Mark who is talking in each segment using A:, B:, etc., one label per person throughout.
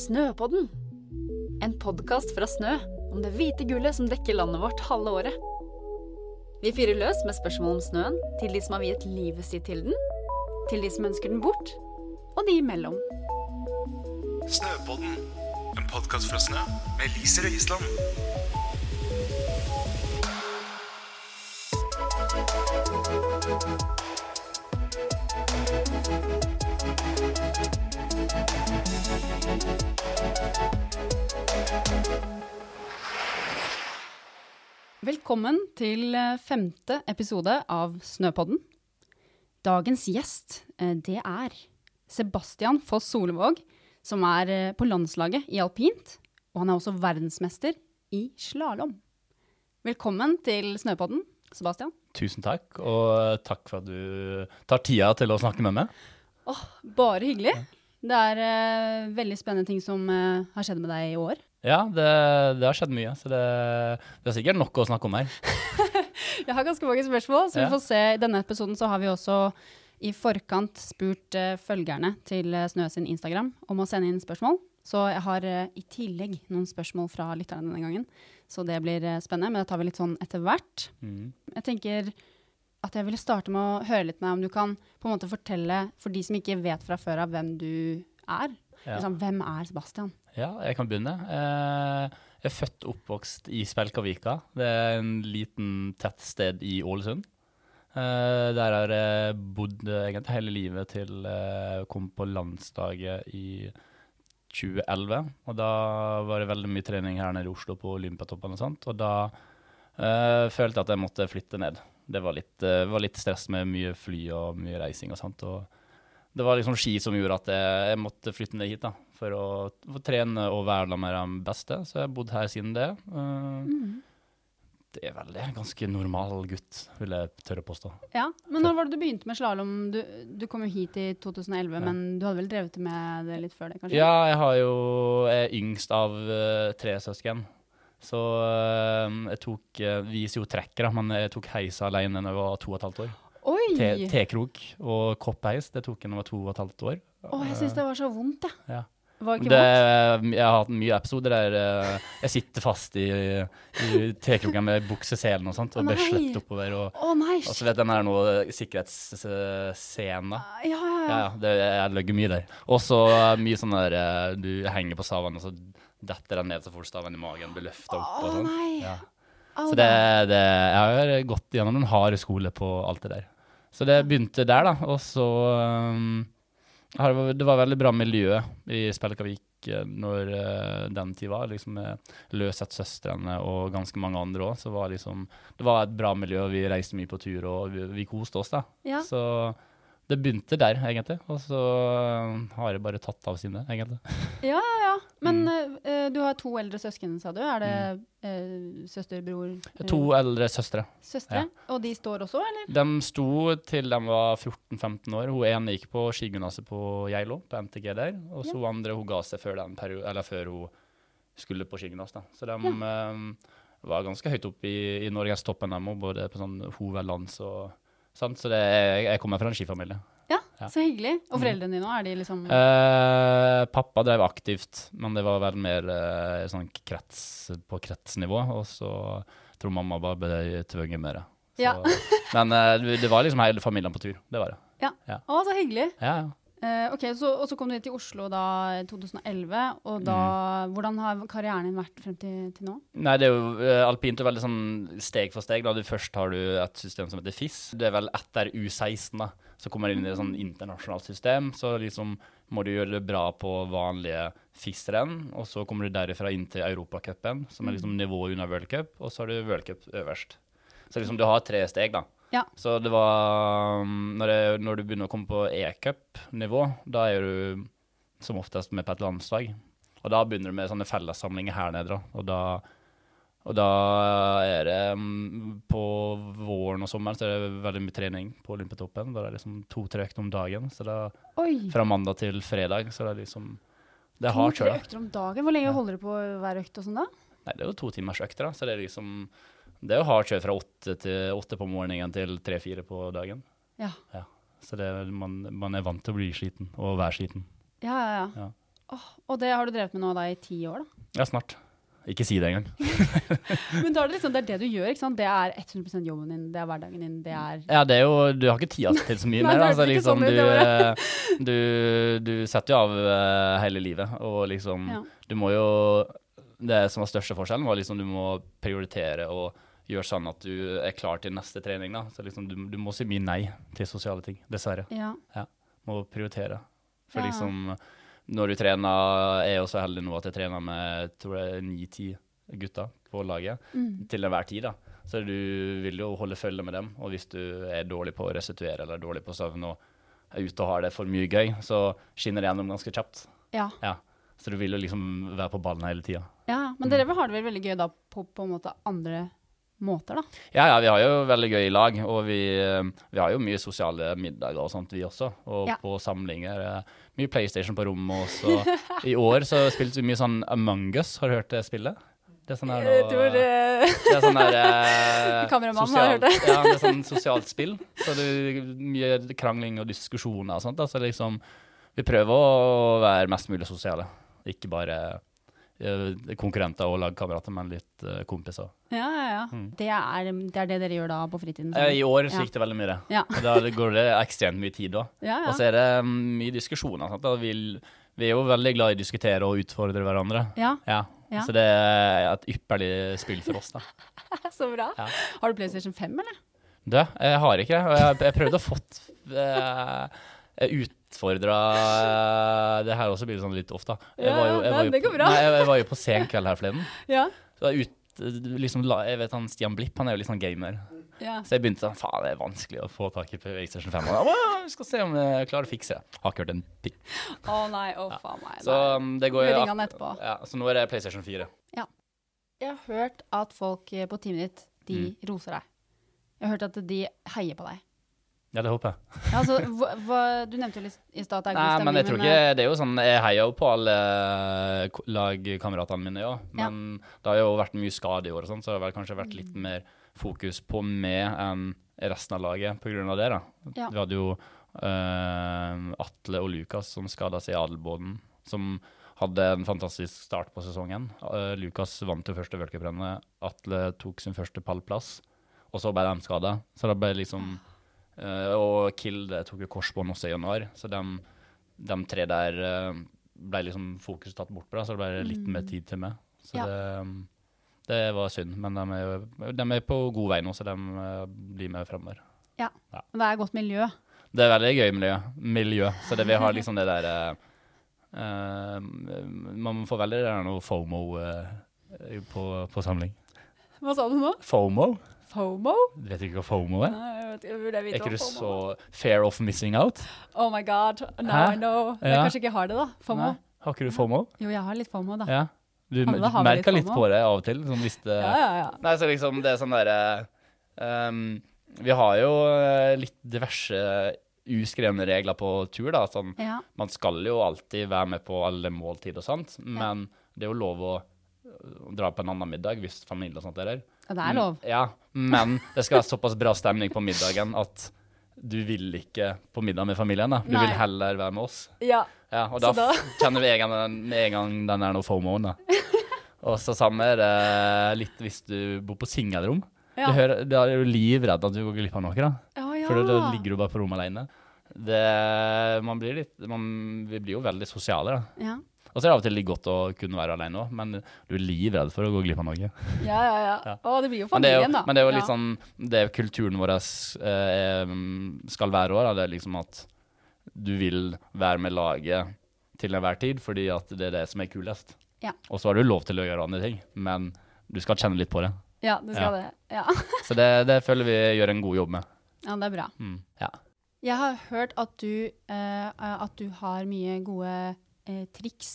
A: Snøpodden. En podkast fra Snø om det hvite gullet som dekker landet vårt halve året. Vi fyrer løs med spørsmål om snøen til de som har viet livet sitt til den, til de som ønsker den bort, og de imellom.
B: Snøpodden, en podkast fra Snø med Lise Røisland.
C: Velkommen til eh, femte episode av Snøpodden. Dagens gjest, eh, det er Sebastian Foss Solvåg, som er eh, på landslaget i alpint, og han er også verdensmester i slalåm. Velkommen til Snøpodden, Sebastian.
D: Tusen takk, og eh, takk for at du tar tida til å snakke med meg.
C: Åh, bare hyggelig. Det er eh, veldig spennende ting som eh, har skjedd med deg i år.
D: Ja, det, det har skjedd mye, så det, det er sikkert nok å snakke om her.
C: Jeg har ganske mange spørsmål, så vi
D: Ja.
C: får se. I denne episoden så har vi også i forkant spurt eh, følgerne til eh, Snø sin Instagram om å sende inn spørsmål. Så jeg har eh, i tillegg noen spørsmål fra lytterne denne gangen. Så det blir eh, spennende, men det tar vi litt sånn etter hvert.
D: Mm.
C: Jeg tenker at jeg ville starte med å høre litt med deg om du kan på en måte fortelle for de som ikke vet fra før av hvem du er.
D: Ja.
C: Liksom, hvem er Sebastian?
D: Ja, jeg kan begynne. Eh, Jeg er født og oppvokst i Spjelkavika. Det er en liten tett sted i Ålesund. Eh, Der har jeg bodd eh, egentlig hele livet til eh, jeg kom på landsdaget i 2011. Og da var det veldig mye trening her nede i Oslo på Olympiatoppene og sånt. Og da eh, følte jeg at jeg måtte flytte ned. Det var litt, eh, var litt stress med mye fly og mye reising og sånt. og det var liksom ski som gjorde at jeg, jeg måtte flytte ned hit da, for å for å trene og være da med de beste. Så jeg har bodd her siden det. Eh, Det er vel det. Ganske normal gutt, vil jeg tørre å påstå.
C: Ja, men når var det du begynte med slalåm? Du, du kom jo hit i 2011, men du hadde vel drevet med det litt før det, kanskje?
D: Ja, jeg har jo jeg er yngst av eh, tre søsken. Så eh, jeg tok eh, Vi sier jo trekker, da, men jeg tok heisa alene da jeg var to og et halvt år.
C: Oi!
D: Te- Tekrok og koppheis, det tok jeg da jeg var to og et halvt år.
C: Å, jeg syns det var så vondt, jeg.
D: Ja.
C: Var det
D: Det, um,
C: ikke vondt?
D: jeg har hatt mye episoder der eh, jeg sitter fast i, i tekroken med bukseselen og sånt,
C: Å,
D: og blir
C: nei.
D: slept oppover. Og,
C: Å nei!
D: og så
C: shit.
D: vet den her nå eh, sikkerhetsscenen. da.
C: Ja, ja,
D: Ja,
C: ja.
D: ja, det, jeg løgger mye der. Og så eh, mye sånn der eh, du henger på staven, og så detter den ned så fort staven i magen blir løfta opp
C: Å
D: og sånn.
C: nei.
D: Ja.
C: Au
D: Så
C: da.
D: det, det, jeg har gått gjennom en hard skole på alt det der. Så det begynte der, da. Og så um, har det var- Det var veldig bra miljø i Spjelkavik eh, når eh, den tid var. liksom med Løseth-søstrene og ganske mange andre òg. Så var liksom, det var et bra miljø. Vi reiste mye på tur, og vi, vi koste oss, da.
C: Ja.
D: Så det begynte der, egentlig. Og så um, har jeg bare tatt av sine, egentlig.
C: ja, ja, ja. Men
D: Mm.
C: eh, du har to eldre søsken, sa du. Er det eh, søster, bror eh,
D: To eldre søstre.
C: søstre? Og de står også, eller?
D: De sto til de var 14-15 år. Hun ene gikk på skigymnaset på Geilo, på NTG der. Og så hun andre hun ga seg før, den perio- eller før hun skulle på skigymnas. da. Så de eh, var ganske høyt oppe i, i norgestoppen, de òg, både på sånn hovedlands og sånt. Så det, jeg, jeg kommer fra en skifamilie.
C: Ja,
D: Ja.
C: så hyggelig. Og foreldrene dine òg, er de liksom
D: Eh, pappa drev aktivt, men det var vel mer eh, sånn krets, på kretsnivå. Og så tror mamma bare ble tvunget med det. Så-
C: Ja.
D: men eh, det var liksom hele familien på tur. Det var det.
C: Ja.
D: ja.
C: Å, så hyggelig.
D: Ja, ja.
C: Eh, ok, så, Og så kom du hit til Oslo da i 2011. og
D: Mm.
C: da, Hvordan har karrieren din vært frem til, til nå?
D: Nei, det er jo eh, alpint er veldig sånn steg for steg. Da. Du først har du et system som heter FIS. Det er vel etter U16, da. Så kommer du inn i et sånn internasjonalt system. Så liksom må du gjøre det bra på vanlige FIS-renn. Og så kommer du derifra inn til Europacupen, som er liksom nivået under World Cup. Og så har du World Cup øverst. Så liksom du har tre steg, da.
C: Ja.
D: Så det var um, Når, det, når du begynner å komme på e-cup-nivå, da er du som oftest med på et landslag. Og da begynner du med sånne fellessamlinger her nede, da. Og da, og da er det um, På våren og sommeren så er det veldig mye trening på Olympiatoppen. Da er det liksom to-tre økter om dagen. Så da,
C: Oi!
D: fra mandag til fredag, så det er liksom Det er hardt,
C: To-tre
D: sjøl.
C: økter om dagen. Hvor lenge holder du på hver økt og sånn da?
D: Nei, det er jo to timers økter, da. Så det er liksom Det er jo hardt kjør fra åtte, til, åtte på morgenen til tre-fire på dagen.
C: Ja.
D: Ja. Så det, er- man, man er vant til å bli sliten, og være sliten.
C: Ja, ja, ja.
D: Ja.
C: Åh, og det har du drevet med nå da i ti år, da.
D: Ja, snart. Ikke si det engang.
C: Men da er det liksom, det er det du gjør, ikke sant? Det er 100 jobben din, det er hverdagen din, det er
D: Ja, det er jo, du har ikke tida til så mye
C: Nei,
D: mer.
C: det
D: Altså,
C: hørtes ikke
D: liksom,
C: sånn ut,
D: du,
C: det var
D: eh, du, du setter jo av eh, hele livet, og liksom
C: Ja.
D: Du må jo Det som var største forskjellen, var liksom du må prioritere og gjøre sånn at du er klar til neste trening. da. Så liksom, du, du må si mye nei til sosiale ting, dessverre.
C: Ja.
D: Må prioritere. For
C: Ja.
D: liksom når du trener Jeg er jo så heldig nå at jeg trener med jeg tror det er ni-ti gutter på laget
C: Mm.
D: til enhver tid. da. Så du vil jo holde følge med dem, og hvis du er dårlig på å restituere eller dårlig på søvn og er ute og har det for mye gøy, så skinner det gjennom ganske kjapt.
C: ja.
D: Ja. Så du vil jo liksom være på ballen hele tida.
C: Ja, men dere har det vel veldig gøy da på, på en måte andre måter, da.
D: Ja, ja, vi har jo veldig gøy i lag, og vi, eh, vi har jo mye sosiale middager og sånt, vi også. Og
C: Ja.
D: på samlinger. eh, Mye PlayStation på rommet også. I år så spilte vi mye sånn Among us, har du hørt det spillet? Det er sånn her nå- Det er sånn der eh,
C: eh, Kameramann har
D: sosialt-
C: hørt det.
D: ja, det er sånn sosialt spill. Så det er mye krangling og diskusjoner og sånt. da. Så liksom, vi prøver å være mest mulig sosiale. Ikke bare eh, konkurrenter og lagkamerater, men litt eh, kompiser.
C: Ja, ja, ja.
D: Mm.
C: Det, er, det er det dere gjør da på fritiden?
D: Eh, I år så
C: Ja.
D: gikk det veldig mye det.
C: Ja.
D: Og Da går det ekstremt mye tid da.
C: Ja,
D: Og så
C: ja.
D: er det mm, mye diskusjoner. Sant? da. Vi, vi er jo veldig glad i å diskutere og utfordre hverandre.
C: ja.
D: Ja.
C: Ja.
D: Så det er et ypperlig spill for oss, da.
C: Så bra.
D: Ja.
C: Har du PlayStation 5, eller?
D: Du, jeg har ikke det. og Jeg, jeg prøvde å fått eh, Jeg utfordra eh, Det her også blir sånn litt ofte.
C: Ja, ja, nei, det går bra.
D: Nei, jeg, jeg var jo på sen kveld her forleden.
C: Ja.
D: Så jeg, ut, liksom, la- jeg vet han Stian Blipp, han er jo litt sånn gamer.
C: ja.
D: Så jeg begynte sånn Faen, det er vanskelig å få tak i PlayStation 5. Og da, «Wow, vi skal se om eh, jeg klarer å fikse det. Har ikke hørt en pikk.
C: Å nei, å faen meg.
D: Så
C: nei.
D: um, det går
C: Vi
D: jo
C: ringer han etterpå.
D: Ja, så nå er det PlayStation 4.
C: Jeg har hørt at folk eh, på teamet ditt, de
D: Mm.
C: roser deg. Jeg har hørt at de heier på deg.
D: Ja, det håper jeg.
C: Ja, altså, hva, hva, du nevnte jo litt i stad at det er god
D: Nei,
C: stemning.
D: men jeg tror
C: eh,
D: ikke Det er jo sånn Jeg heier jo på alle ko- lagkameratene mine, ja. Men det har jo vært mye skade i år og sånn, så det har vel kanskje vært
C: Mm.
D: litt mer fokus på meg enn resten av laget på grunn av det, da.
C: Ja.
D: Vi hadde jo eh, Atle og Lukas som skada seg i Adelboden, som hadde en fantastisk start på sesongen. Eh, Lukas vant jo første v-cuprennet, Atle tok sin første pallplass, og så ble de skada. Så det ble liksom
C: Ah.
D: Eh, og Kill det tok jo korsbånd også i januar, så de, de tre der eh, ble liksom fokuset tatt bort på, da, så det ble litt mer tid til meg. Så
C: Mm. Ja.
D: det, mm, det var synd, men de er, jo- de er på god vei nå, så de eh, blir med fremover.
C: Ja.
D: Ja.
C: eh, Men det er godt miljø.
D: Det er veldig gøy miljø, miljø. så det, vi har liksom det der eh, eh, Man får veldig det der noe FOMO eh, på, på samling.
C: Hva sa du nå?
D: FOMO?
C: FOMO?
D: Vet du ikke hva FOMO er?
C: Nei, jeg vet ikke, burde jeg
D: Er
C: vite
D: ikke
C: hva
D: du
C: FOMO
D: så fair of missing out?
C: Oh my god, now
D: Hæ?
C: I know. Men Jeg
D: Ja.
C: kanskje ikke har det, da. FOMO.
D: Nei? Har ikke du FOMO?
C: Jo, jeg har litt FOMO, da.
D: Ja. Du,
C: Alle
D: du
C: har vel litt
D: merker litt
C: FOMO.
D: på det av og til. Sånn hvis det,
C: Ja, ja, ja.
D: Nei, så liksom det er sånn derre ehm, Vi har jo eh, litt diverse uskrevne regler på tur, da. Sånn,
C: Ja,
D: man skal jo alltid være med på alle måltid og sånt, men det er jo lov å eh, dra på en annen middag hvis familie og sånt er der.
C: ja det er lov.
D: Mm, Ja, men det skal være såpass bra stemning på middagen at du vil ikke på middag med familien, da. Du
C: Nei.
D: vil heller være med oss.
C: Ja.
D: Ja, og
C: Så
D: da,
C: da-
D: f- kjenner vi en gang, den- med en gang den er noe FOMO-en, da. Og så samme er det litt hvis du bor på singelrom.
C: Ja.
D: Du hører, da er du livredd at du går glipp av noe, da.
C: Å, ja.
D: For da ligger du bare på rommet alene. Det, man blir litt, man, vi blir jo veldig sosiale, da.
C: ja.
D: Og så er det av og til litt godt å kunne være alene òg, men du er livredd for å gå glipp av noe.
C: ja, ja, ja. Å, det blir jo
D: Men det er jo,
C: familien, da.
D: men det er jo litt
C: ja.
D: sånn Det kulturen vår eh, skal være òg, da. Det er liksom at du vil være med laget til enhver tid, fordi at det er det som er kulest.
C: Ja.
D: Og så har du lov til å gjøre andre ting, men du skal kjenne litt på det.
C: Ja, du skal det. Ja.
D: Så det, det føler vi gjør en god jobb med.
C: ja, det er bra.
D: Mm. Ja.
C: Jeg har hørt at du, eh, at du har mye gode eh, triks.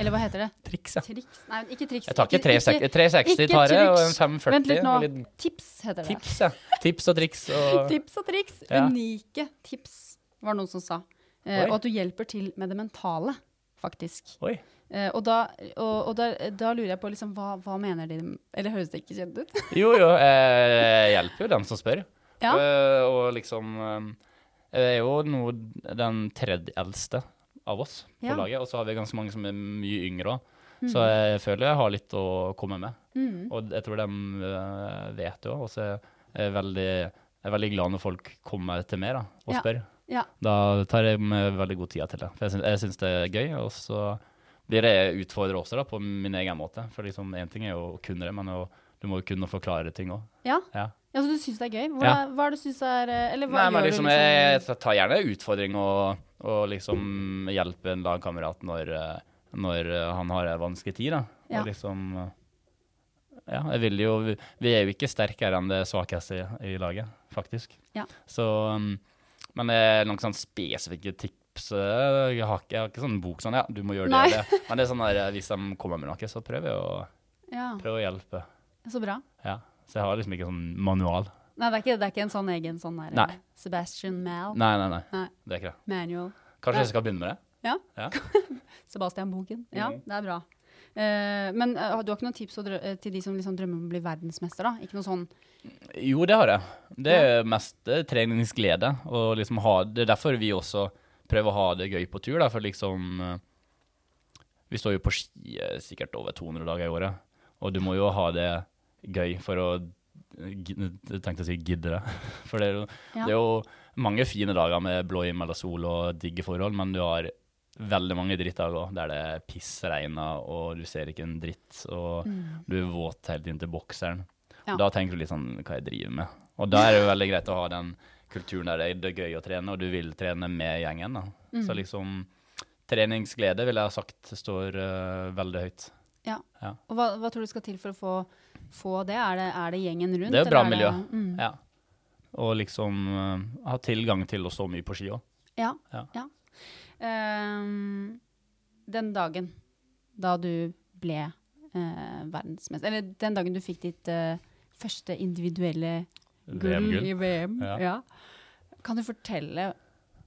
C: Eller hva heter det?
D: Triks, ja.
C: Triks? Nei, men ikke triks.
D: Jeg tar ikke 360,
C: ikke
D: 360 tar jeg, og en
C: triks. Vent litt
D: 540
C: nå.
D: og litt
C: Tips heter det.
D: tips, ja. Tips og triks og
C: Tips og triks.
D: Ja.
C: Unike tips, var det noen som sa. Eh,
D: Oi.
C: og at du hjelper til med det mentale, faktisk.
D: Oi.
C: Eh, og da, og, og da, da lurer jeg på liksom, hva, hva mener de Eller høres det ikke kjent ut?
D: Jo, jo, jeg hjelper jo den som spør.
C: Ja.
D: Eh, og liksom eh, Jeg er jo nå den tredje eldste av oss på
C: Ja.
D: laget. Og så har vi ganske mange som er mye yngre òg. Så jeg føler jeg har litt å komme med.
C: Mm.
D: Og jeg tror de øh, vet det òg. Og så er jeg veldig, jeg er veldig glad når folk kommer til meg da, og
C: Ja.
D: spør.
C: Ja.
D: Da tar jeg meg veldig god tid til det. For jeg syns, jeg syns det er gøy. Og så blir jeg utfordra også da, på min egen måte. For liksom, én ting er jo å kunne det, men å, du må jo kunne forklare ting òg.
C: Ja.
D: Ja.
C: ja, så du syns det er gøy? Hva,
D: Ja.
C: hva er det du syns er eh, Eller hva
D: Nei, men
C: gjør
D: liksom,
C: du
D: jeg, jeg tar gjerne utfordring og, og liksom hjelper en lagkamerat når, eh, når eh, han har en vanskelig tid, da.
C: Ja.
D: Og liksom eh, Ja, jeg vil jo Vi vi er jo ikke sterkere enn det svakeste i, i laget, faktisk.
C: Ja.
D: Så um, Men eh, noen sånn spesifikke tips eh, jeg har, ikke, jeg har ikke sånn bok sånn Ja, du må gjøre det
C: Nei.
D: og det. Men det er sånn der, eh, hvis de kommer med noe, så prøver jeg å,
C: Ja,
D: prøver å hjelpe.
C: så bra.
D: Ja. Så jeg har liksom ikke sånn manual.
C: Nei, det er ikke, det er ikke en sånn egen sånn der
D: Nei.
C: Sebastian Mal.
D: Nei, nei, nei.
C: Nei.
D: Det er ikke det.
C: Manual.
D: Kanskje jeg skal begynne med det?
C: Ja.
D: Ja. Mm.
C: Sebastian Bogen. Ja, det er bra. Eh, men eh, du har ikke noen tips å drø eh, til de som liksom drømmer om å bli verdensmester? da? Ikke noe sånn
D: Jo, det har jeg. Det er mest eh, treningsglede. Og liksom ha, det er derfor vi også prøver å ha det gøy på tur. Da, for liksom eh, Vi står jo på ski eh, sikkert over 200 dager i året. Og du må jo ha det gøy for å gi- Jeg tenkte å si gidde det. For det er, jo,
C: Ja.
D: det er jo mange fine dager med blå himmel og sol og digge forhold, men du har veldig mange drittdager òg der det pissregner og du ser ikke en dritt. Og du er våt helt inn til bokseren.
C: Ja.
D: Da tenker du litt sånn hva jeg driver med. Og da er det jo veldig greit å ha den kulturen der det er- det er gøy å trene, og du vil trene med gjengen. da. Så
C: Mhm.
D: liksom treningsglede, ville jeg ha sagt, står eh, veldig høyt.
C: Ja.
D: Ja.
C: Og hva, hva tror du skal til for å få, få det? Er det? Er det gjengen rundt?
D: Det er jo bra
C: eller
D: miljø.
C: Mm.
D: Ja. Og liksom eh, ha tilgang til å stå mye på ski òg.
C: Ja. ja.
D: Ja.
C: Ehm, den dagen da du ble eh, verdensmester, eller den dagen du fikk ditt eh, første individuelle gull
D: VM-gull.
C: i VM, ja.
D: Ja.
C: kan du fortelle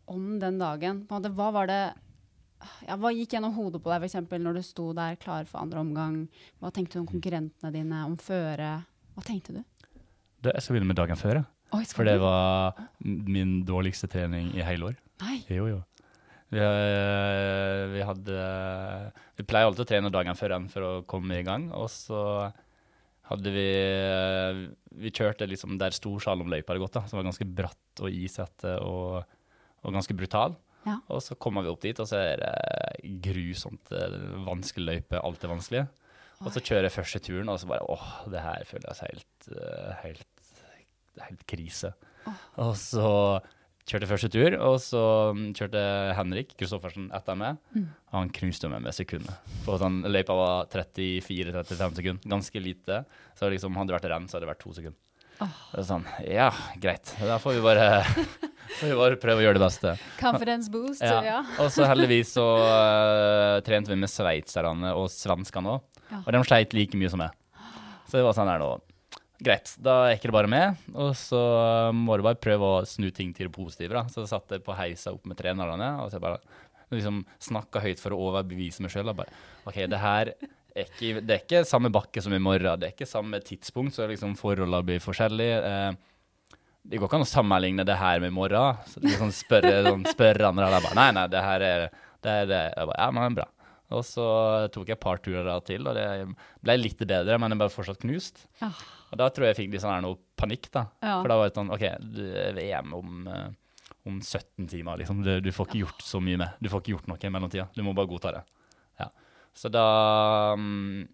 C: om den dagen? På en måte, hva var det ja, Hva gikk gjennom hodet på deg for eksempel, når du sto der klar for andre omgang? Hva tenkte du om konkurrentene dine, om føret? Hva tenkte du?
D: Du, Jeg skal begynne med dagen før, jeg.
C: Oi,
D: for det var min dårligste trening i hele år.
C: Nei.
D: Jo, jo. Vi, eh, vi hadde eh, Vi pleier alltid å trene dagen før enn for å komme i gang, og så hadde vi eh, Vi kjørte liksom der Storslalåmløypa hadde gått, da, som var ganske bratt og isete og, og ganske brutal.
C: Ja.
D: Og så kommer vi opp dit, og så er det grusomt eh, vanskelig løype. Alt er vanskelig. Og så kjører jeg første turen, og så bare åh, det her føles helt, eh, helt, helt krise. Og så kjørte jeg første tur, og så mm, kjørte Henrik Kristoffersen etter meg. Og han knuste meg med sekundet. For sånn, løypa var 34-35 sekunder, ganske lite. Så liksom, hadde det vært renn, så hadde det vært to sekunder. Det er sånn, ja, greit. Da får vi bare, får vi bare prøve å gjøre det beste.
C: Confidence boost,
D: Ja.
C: ja.
D: og så heldigvis så eh, trente vi med sveitserne og svenskene òg.
C: Ja.
D: Og de sleit like mye som meg. Så det var sånn her nå. Greit, da er ikke det bare med. Og så eh, må du bare prøve å snu ting til det positive. da. Så jeg satt jeg på heisa opp med trenerne og så jeg bare liksom snakka høyt for å overbevise meg sjøl. OK, det her er ikke, det er ikke samme bakke som i morgen. Det er ikke samme tidspunkt, så liksom forholdene blir forskjellige. Eh, det går ikke an å sammenligne det her med i morgen. Så liksom spørre, sånn, spørre andre, og de bare Nei, nei, det her er det. Er det. Jeg bare, ja, men bra. Og så tok jeg et par turer da til, og det ble litt bedre, men jeg ble fortsatt knust.
C: Ah.
D: Og da tror jeg jeg fikk litt sånn her noe panikk, da.
C: Ja.
D: For da var det sånn OK, du er VM om, eh, om 17 timer, liksom. Du, du får ikke gjort så mye med. Du får ikke gjort noe i mellomtida. Du må bare godta det. Ja. Så da mm,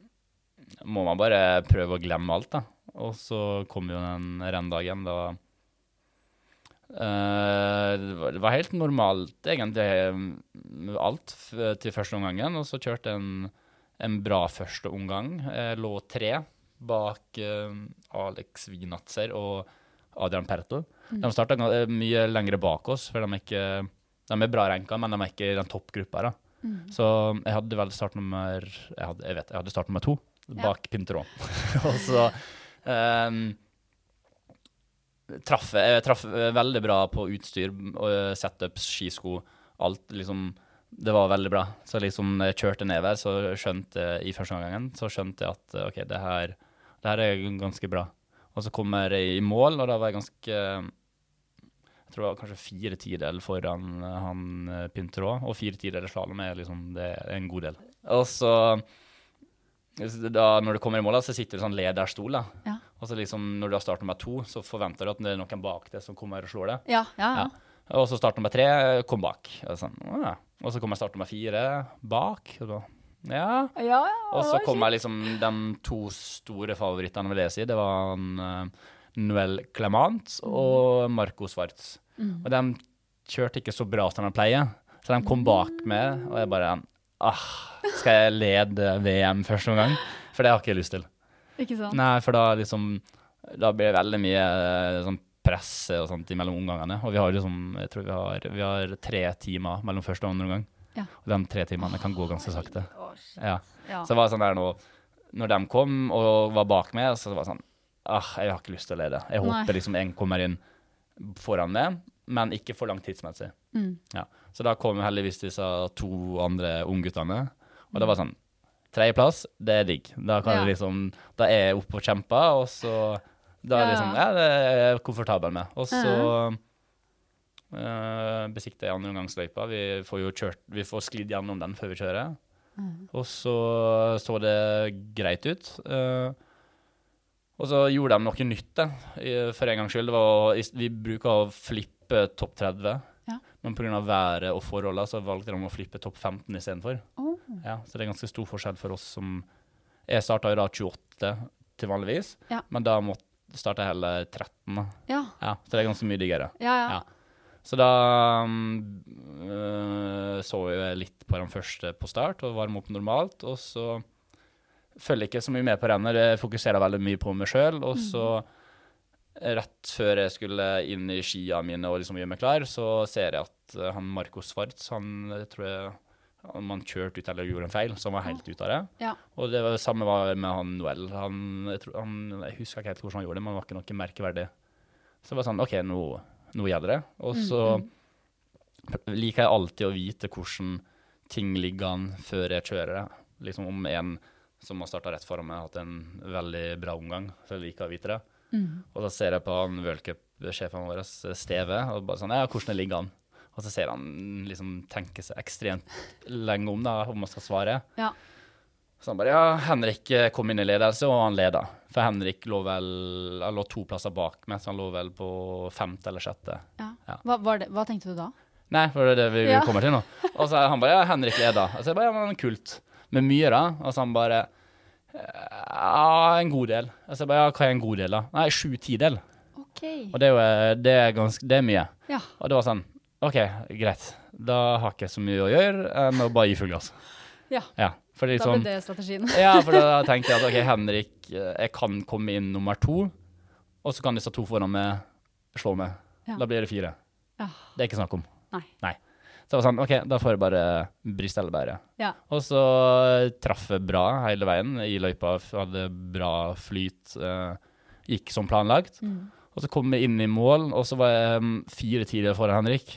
D: må man bare prøve å glemme alt, da. Og så kom jo den renndagen da eh, det, var, det var helt normalt, egentlig, eh, alt f til første omgangen. Og så kjørte jeg en, en bra første omgang. Jeg lå tre bak eh, Alex Wienatzer og Adrian Pertl. De starta mye lengre bak oss, for de er, ikke, de er bra ranka, men de er ikke i den toppgruppa. da. Så jeg hadde vel startnummer Jeg, hadde, jeg vet, jeg hadde startnummer to bak Pinteron. og så ehm, traff jeg, jeg traff veldig bra på utstyr, og eh, setups, skisko, alt liksom Det var veldig bra. Så liksom når jeg kjørte nedover, så skjønte jeg i første gangen så skjønte jeg at eh, OK, det her, det her er ganske bra. Og så kommer jeg i mål, og da var jeg ganske jeg tror det var kanskje fire tideler foran eh, han eh, Pinterå, og fire tideler slalåm er liksom det er en god del. Og så så da, Når du kommer i mål, da, så sitter du i sånn lederstol. da.
C: Ja.
D: Og så liksom, når du har start nummer to, så forventer du at det er noen bak deg som kommer og slår deg.
C: Ja, ja, ja.
D: Ja. Og så start nummer tre, kom bak. Og, sånn, «Å ja. og så kommer start nummer fire, bak. Og da, ja.
C: ja, ja
D: Og så
C: det var
D: kommer liksom de to store favorittene, vil jeg si. Det var han, eh, Noel Clement
C: Mm.
D: og Marco Schwartz. Og de kjørte ikke så bra som de pleier, så de kom bak
C: Mm.
D: meg, og jeg bare ah, Skal jeg lede VM først noen gang? For det har ikke jeg lyst til.
C: skitt. Ikke sant?
D: Nei, for da liksom Da blir det veldig mye eh, sånn presse og sånt imellom omgangene. Og vi har liksom Jeg tror vi har, vi har tre timer mellom første og andre omgang.
C: Ja.
D: Og de tre timene kan gå ganske sakte. Ja.
C: Ja.
D: Så det var sånn der nå Når de kom og var bak meg, så var det sånn Ah, jeg har ikke lyst til å lede. Jeg
C: Nei.
D: håper liksom en kommer inn foran meg, men ikke for langt tidsmessig.
C: Mm.
D: Ja. Så da kom heldigvis disse to andre ungguttene, og det var sånn Tredjeplass, det er digg. Da kan
C: Ja.
D: jeg liksom Da er jeg oppe og kjemper, og så Da er
C: Ja,
D: det liksom Ja, det er jeg komfortabel med. Og så
C: Ja.
D: eh, besikter jeg andreomgangsløypa. Vi får jo kjørt Vi får sklidd gjennom den før vi kjører. Og så eh, så det greit ut. eh, og så gjorde de noe nytt, da, i- for en gangs skyld. Det var, å- i- vi bruker å flippe topp 30,
C: Ja.
D: men pga. været og forholdene så valgte de å flippe topp 15 istedenfor.
C: Åh.
D: Ja, så det er ganske stor forskjell for oss som Jeg starta i dag 28 til vanligvis,
C: Ja.
D: men da måtte starta jeg heller 13. da.
C: Ja.
D: Ja, så det er ganske mye diggere.
C: Ja, ja.
D: Ja. Så da mm, øh, så jeg litt på den første på start og varme opp normalt. Og så følger jeg ikke så mye med på rennet, jeg fokuserer veldig mye på meg sjøl. Og så rett før jeg skulle inn i skia mine og liksom gjøre meg klar, så ser jeg at eh, han Marco Schwartz, han eh, tror jeg om han kjørte ut eller gjorde en feil, så han var helt ute av det.
C: Ja.
D: Og det var, samme var med han Noel. Han, jeg, tror, han, jeg husker ikke helt hvordan han gjorde det, men det var ikke noe merkeverdig. Så det var sånn, ok, nå, nå gjelder det. Og så liker jeg alltid å vite hvordan ting ligger an før jeg kjører det. Liksom om en som har starta rett foran meg, har hatt en veldig bra omgang, så jeg liker å vite det. Og så ser jeg på han worldcup-sjefen vår, Steve, og bare sånn, ja, hvordan det ligger an? Og så ser han liksom tenke seg ekstremt lenge om da, om han skal svare.
C: Ja.
D: Så han bare ja, Henrik eh, kom inn i ledelse, og han leda. For Henrik lå vel han lå to plasser bak, mens han lå vel på femte eller sjette.
C: ja.
D: Ja.
C: Hva, var det, hva tenkte du da?
D: Nei, for det er det vi
C: Ja.
D: kommer til nå. Og så er han bare ja, Henrik leda. Og så er jeg bare ja, men kult. Med mye, da. Og så han bare eh, ja, en god del. Og så jeg bare ja, hva er en god del, da? Nei, sju tidel.
C: OK.
D: Og det er jo eh, det er ganske, det er mye.
C: Ja.
D: Og det var sånn OK, greit. Da har ikke jeg så mye å gjøre enn å bare gi full gass.
C: Ja.
D: Ja, for
C: Da ble
D: liksom,
C: det strategien.
D: Ja, for da tenkte jeg at ok, Henrik, eh, jeg kan komme inn nummer to, og så kan disse to foran meg slå meg.
C: Ja.
D: Da blir det fire.
C: Ja.
D: Det er ikke snakk om.
C: Nei.
D: Så jeg var sånn, ok, da får jeg bare briste eller bære.
C: Ja.
D: Og så eh, traff jeg bra hele veien i løypa, f- hadde bra flyt, eh, gikk som planlagt.
C: Mm.
D: Og så kom jeg inn i mål, og så var jeg mm, fire tidligere foran Henrik,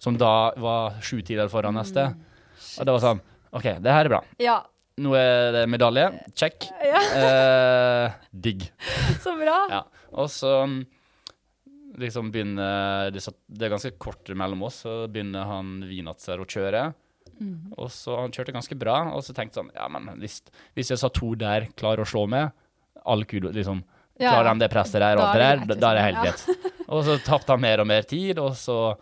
D: som da var sju tidligere foran neste. Og det var sånn, ok, det her er bra.
C: Mm. Ja.
D: Nå er det medalje. Check.
C: ja.
D: Eh, digg.
C: Så bra.
D: Ja. Og så mm, liksom begynner Det satt- det er ganske kort mellom oss, så begynner han Vinatzer å kjøre. Og så Han kjørte ganske bra, og så tenkte jeg sånn Ja, men hvis, hvis jeg sa to der klarer å slå meg, all kudo, liksom
C: Ja,
D: Klarer
C: ja.
D: de det presset der og
C: Da
D: alt
C: er
D: det der,
C: det greit,
D: da er det helt
C: liksom.
D: greit. Og så tapte han mer og mer tid, og så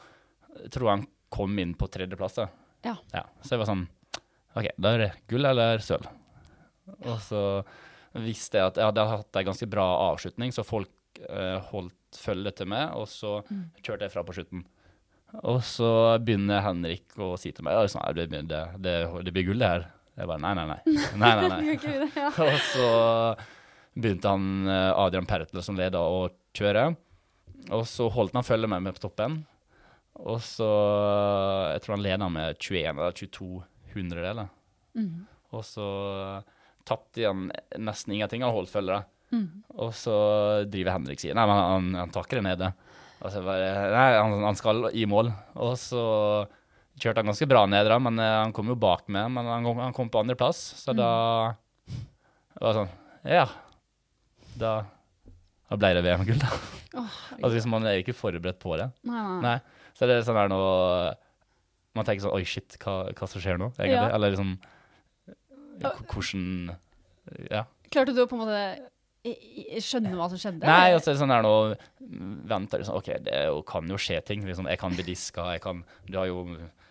D: tror jeg han kom inn på tredjeplass. da.
C: Ja.
D: Ja, så jeg var sånn OK, da er det gull eller sølv. Og så visste jeg at jeg hadde hatt en ganske bra avslutning, så folk eh, holdt følge til meg, og så
C: Mm.
D: kjørte jeg fra på slutten. Og så begynner Henrik å si til meg ja, sånn, «Ja, det, blir- det, det, det blir gull, det her. Jeg bare nei, nei, nei. nei, nei, nei.
C: Gud, ja.
D: Og så begynte han eh, Adrian Pertle som leder å kjøre. Og så holdt han følge med meg på toppen. Og så eh, Jeg tror han leda med 21 eller 22 hundredeler. Og så eh, tapte han nesten ingenting. Han holdt følge, da. Og så driver Henrik sier Nei, men han, han tar ikke det nede. Og så Altså, bare Nei, han, han skal i mål. Og så kjørte han ganske bra ned, da, men eh, han kom jo bak meg. Men han kom, han kom på
C: Mm.
D: andreplass, så da det var sånn Ja. Da Da ble det VM-gull, da.
C: Åh,
D: Altså, liksom, man er jo ikke forberedt på det.
C: nei, nei.
D: Nei. Så det er sånn der nå Man tenker sånn Oi, shit, hva, hva som skjer nå? Egentlig.
C: Ja.
D: Eller liksom k- Hvordan Ja.
C: Klarte du å på en måte i- i- skjønne hva som skjedde?
D: Nei, altså, sånn der nå venter liksom, OK, det er jo, kan jo skje ting. Liksom, jeg kan bli diska, jeg kan Du har jo,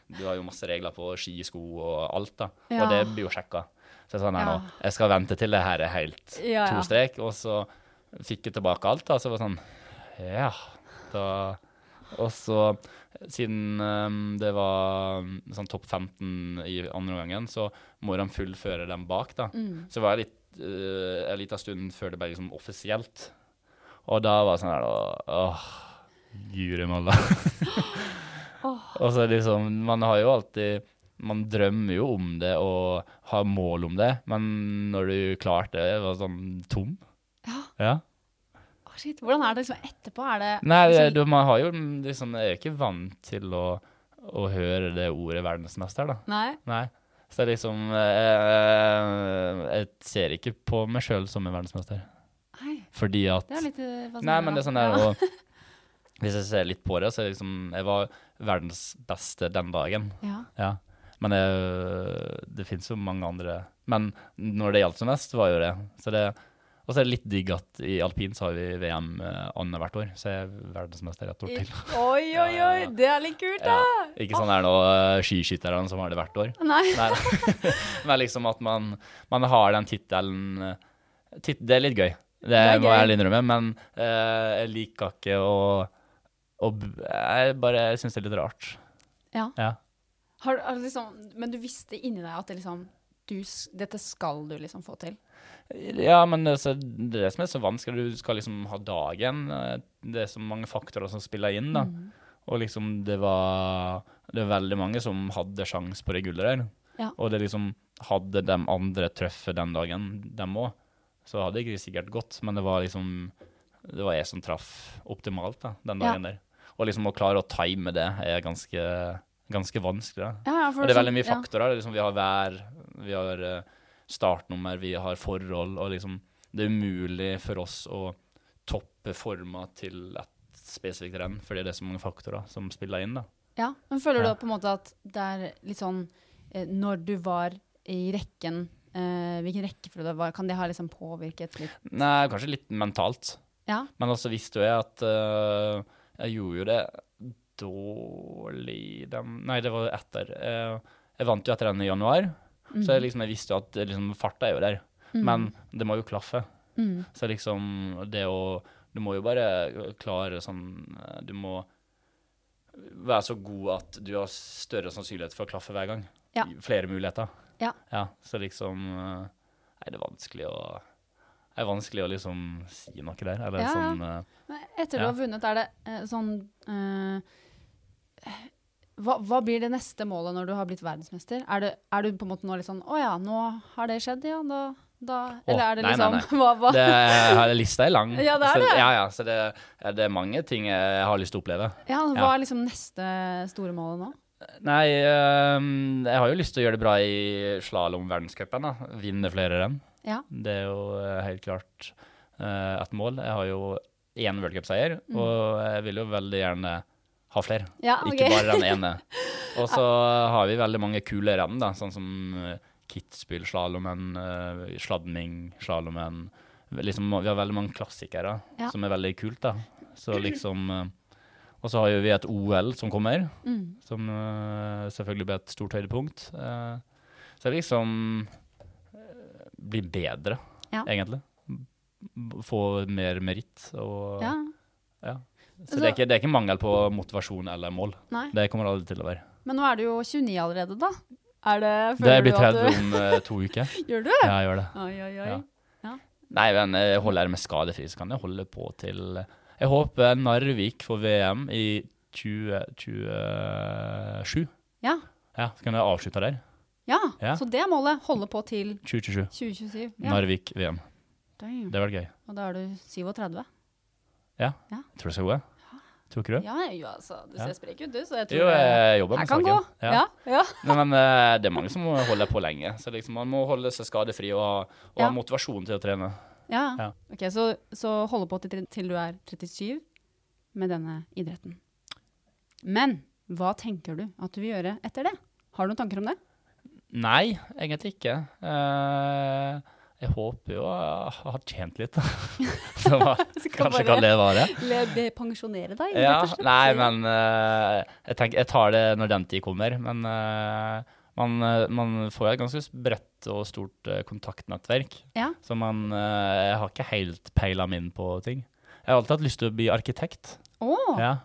D: du har jo masse regler på ski, sko og alt, da.
C: Ja.
D: Og det blir jo sjekka. Så sånn her
C: Ja.
D: nå Jeg skal vente til det her er helt
C: Ja, ja.
D: to strek, og så fikk jeg tilbake alt, da. Så det var sånn Ja, da Og så siden ehm, det var mm, sånn topp 15 i andre gangen, så må de fullføre dem bak, da.
C: Mm.
D: Så var jeg litt eh, en liten stund før det ble liksom offisielt. Og da var det sånn her da Åh, jure malla. Og så liksom Man har jo alltid Man drømmer jo om det og har mål om det, men når du klarte det, var det sånn tom.
C: Ja.
D: ja.
C: Åh, shit. Hvordan er det liksom etterpå? Er det
D: Nei, det,
C: liksom-
D: du, man har jo liksom Jeg er ikke vant til å, å høre det ordet verdensmester, da.
C: Nei?
D: Nei. Så det er liksom eh, Jeg ser ikke på meg sjøl som en verdensmester.
C: Nei,
D: Fordi at
C: det er jo litt eh, fascinerende.
D: Nei, men det er sånn der
C: Ja.
D: og, Hvis jeg ser litt på det, så er det liksom Jeg var verdens beste den dagen.
C: Ja.
D: Ja. Men det, det fins jo mange andre Men når det gjaldt som mest, var jo det. Så det og så er det litt digg at i alpin så har vi VM eh, annethvert år, så jeg er verdensmester et år til.
C: Oi, oi, oi! Det er litt kult,
D: Ja.
C: da!
D: Ikke sånn er nå eh, skiskytterne som har det hvert år.
C: Nei.
D: Nei, nei. Men liksom at man, man har den tittelen eh, tit, Det er litt gøy, det,
C: er
D: må
C: gøy.
D: jeg ærlig innrømme, men eh, jeg liker ikke å, å b- Jeg bare syns det er litt rart.
C: Ja.
D: Ja.
C: Har, har du liksom, men du visste inni deg at det liksom du, s- Dette skal du liksom få til.
D: Ja, men det, så, det er det som er så vanskelig, du skal liksom ha dagen. eh, Det er så mange faktorer som spiller inn, da.
C: Mm.
D: Og liksom, det var Det er veldig mange som hadde sjans på det gullet der.
C: Ja.
D: Og det liksom Hadde de andre treffet den dagen, dem òg, så hadde det ikke sikkert gått, men det var liksom Det var jeg som traff optimalt, da, den
C: Ja.
D: dagen der. Og liksom å klare å time det er ganske, ganske vanskelig. da.
C: Ja, ja,
D: Og
C: for
D: det er veldig
C: sånn-
D: mye
C: ja.
D: faktorer. Det er Liksom, vi har vær, vi har eh, startnummer, vi har forhold, og liksom det er umulig for oss å toppe forma til et spesifikt renn, fordi det er så mange faktorer som spiller inn, da.
C: Ja, men føler du
D: Ja.
C: da på en måte at det er litt sånn eh, Når du var i rekken, eh, hvilken rekkefølge det var, kan det ha liksom påvirket litt?
D: Nei, kanskje litt mentalt.
C: Ja.
D: Men altså, også visste jo jeg at eh, jeg gjorde jo det dårlig dem. Nei, det var etter. Eh, jeg vant jo etter den i januar, så
C: Mhm.
D: jeg, liksom, jeg visste jo at eh, liksom, farta er jo der. Men det må jo klaffe.
C: Mm.
D: Så liksom det å Du må jo bare klare sånn eh, Du må være så god at du har større sannsynlighet for å klaffe hver gang.
C: Ja.
D: Flere muligheter.
C: Ja.
D: så liksom eh, Nei, det er vanskelig å det er vanskelig å liksom si noe der. Eller
C: Ja, ja.
D: sånn eh,
C: Men etter du
D: Ja.
C: har vunnet, er det eh, sånn eh, hva, hva blir det neste målet når du har blitt verdensmester? Er du, er du på en måte nå litt sånn Å ja, nå har det skjedd, ja. Da, da Eller er det
D: nei, nei,
C: liksom
D: nei.
C: Hva, hva?
D: det, her, Lista er lang.
C: Ja, det er
D: Så,
C: det.
D: ja, ja, så det, ja, det er mange ting jeg har lyst til å oppleve.
C: Ja, hva
D: Ja.
C: er liksom neste store målet nå?
D: Nei, øhm, jeg har jo lyst til å gjøre det bra i slalåm-verdenscupen. da. Vinne flere renn.
C: Ja.
D: Det er jo eh, helt klart eh, et mål. Jeg har jo én worldcupseier,
C: Mm.
D: og jeg vil jo veldig gjerne ha flere.
C: Ja, ok.
D: Ikke bare den ene. Og så har vi veldig mange kule renn, da, sånn som eh, Kitzbühel, slalåmen, eh, sladming, slalåmen. Liksom, vi har veldig mange klassikere
C: Ja.
D: som er veldig kult, da. Så liksom eh, Og så har jo vi et OL som kommer,
C: Mm.
D: som eh, selvfølgelig blir et stort høydepunkt. Eh, så liksom eh, bli bedre,
C: Ja.
D: egentlig. B- Få mer meritt og
C: Ja.
D: ja. Så,
C: Så-
D: det, er ikke, det er ikke mangel på motivasjon eller mål.
C: Nei.
D: Det kommer det aldri til å være.
C: Men nå er du jo 29 allerede, da. Er det
D: Det
C: Føler
D: blir
C: du at
D: 30 om eh, to uker.
C: du Gjør du?
D: Ja, jeg gjør det.
C: Oi, oi, oi.
D: Ja. Nei, men eh, holder jeg meg skadefri, så kan jeg holde på til eh, Jeg håper Narvik får VM i 2027.
C: Ja.
D: Ja, så kan jeg avslutte der.
C: Ja.
D: Ja.
C: Så det er målet. Holde på til
D: 2027.
C: 2027. Ja.
D: Narvik-VM. Det
C: Damn.
D: hadde vært gøy.
C: Og da er du
D: Tror
C: 37.
D: du jeg skal gå? jeg? Tror ikke du? det?
C: Ja, jo, altså. Du ser
D: Ja.
C: sprek ut, du, så jeg tror
D: Jo, jeg jobber
C: jeg
D: med
C: kan gå.
D: saken.
C: Ja. ja.
D: Nei, men eh, det er mange som holder på lenge. Så liksom, man må holde seg skadefri og, ha- og
C: Ja.
D: ha motivasjon til å trene.
C: Ja.
D: Ja.
C: Ok, så, så holde på til, til du er 37 med denne idretten. Men hva tenker du at du vil gjøre etter det? Har du noen tanker om det?
D: Nei, egentlig ikke. Eh, jeg håper jo jeg har tjent litt, da. Så hva-
C: Så kan
D: kanskje
C: bare-
D: kan det vare.
C: Eller pensjonere deg,
D: Ja, nei, men eh, jeg tenker jeg tar det når den tid kommer. Men eh, man, eh, man får jo et ganske bredt og stort eh, kontaktnettverk.
C: Ja.
D: Så man eh, jeg har ikke helt peila min på ting. Jeg har alltid hatt lyst til å bli arkitekt.
C: Å,
D: Ja.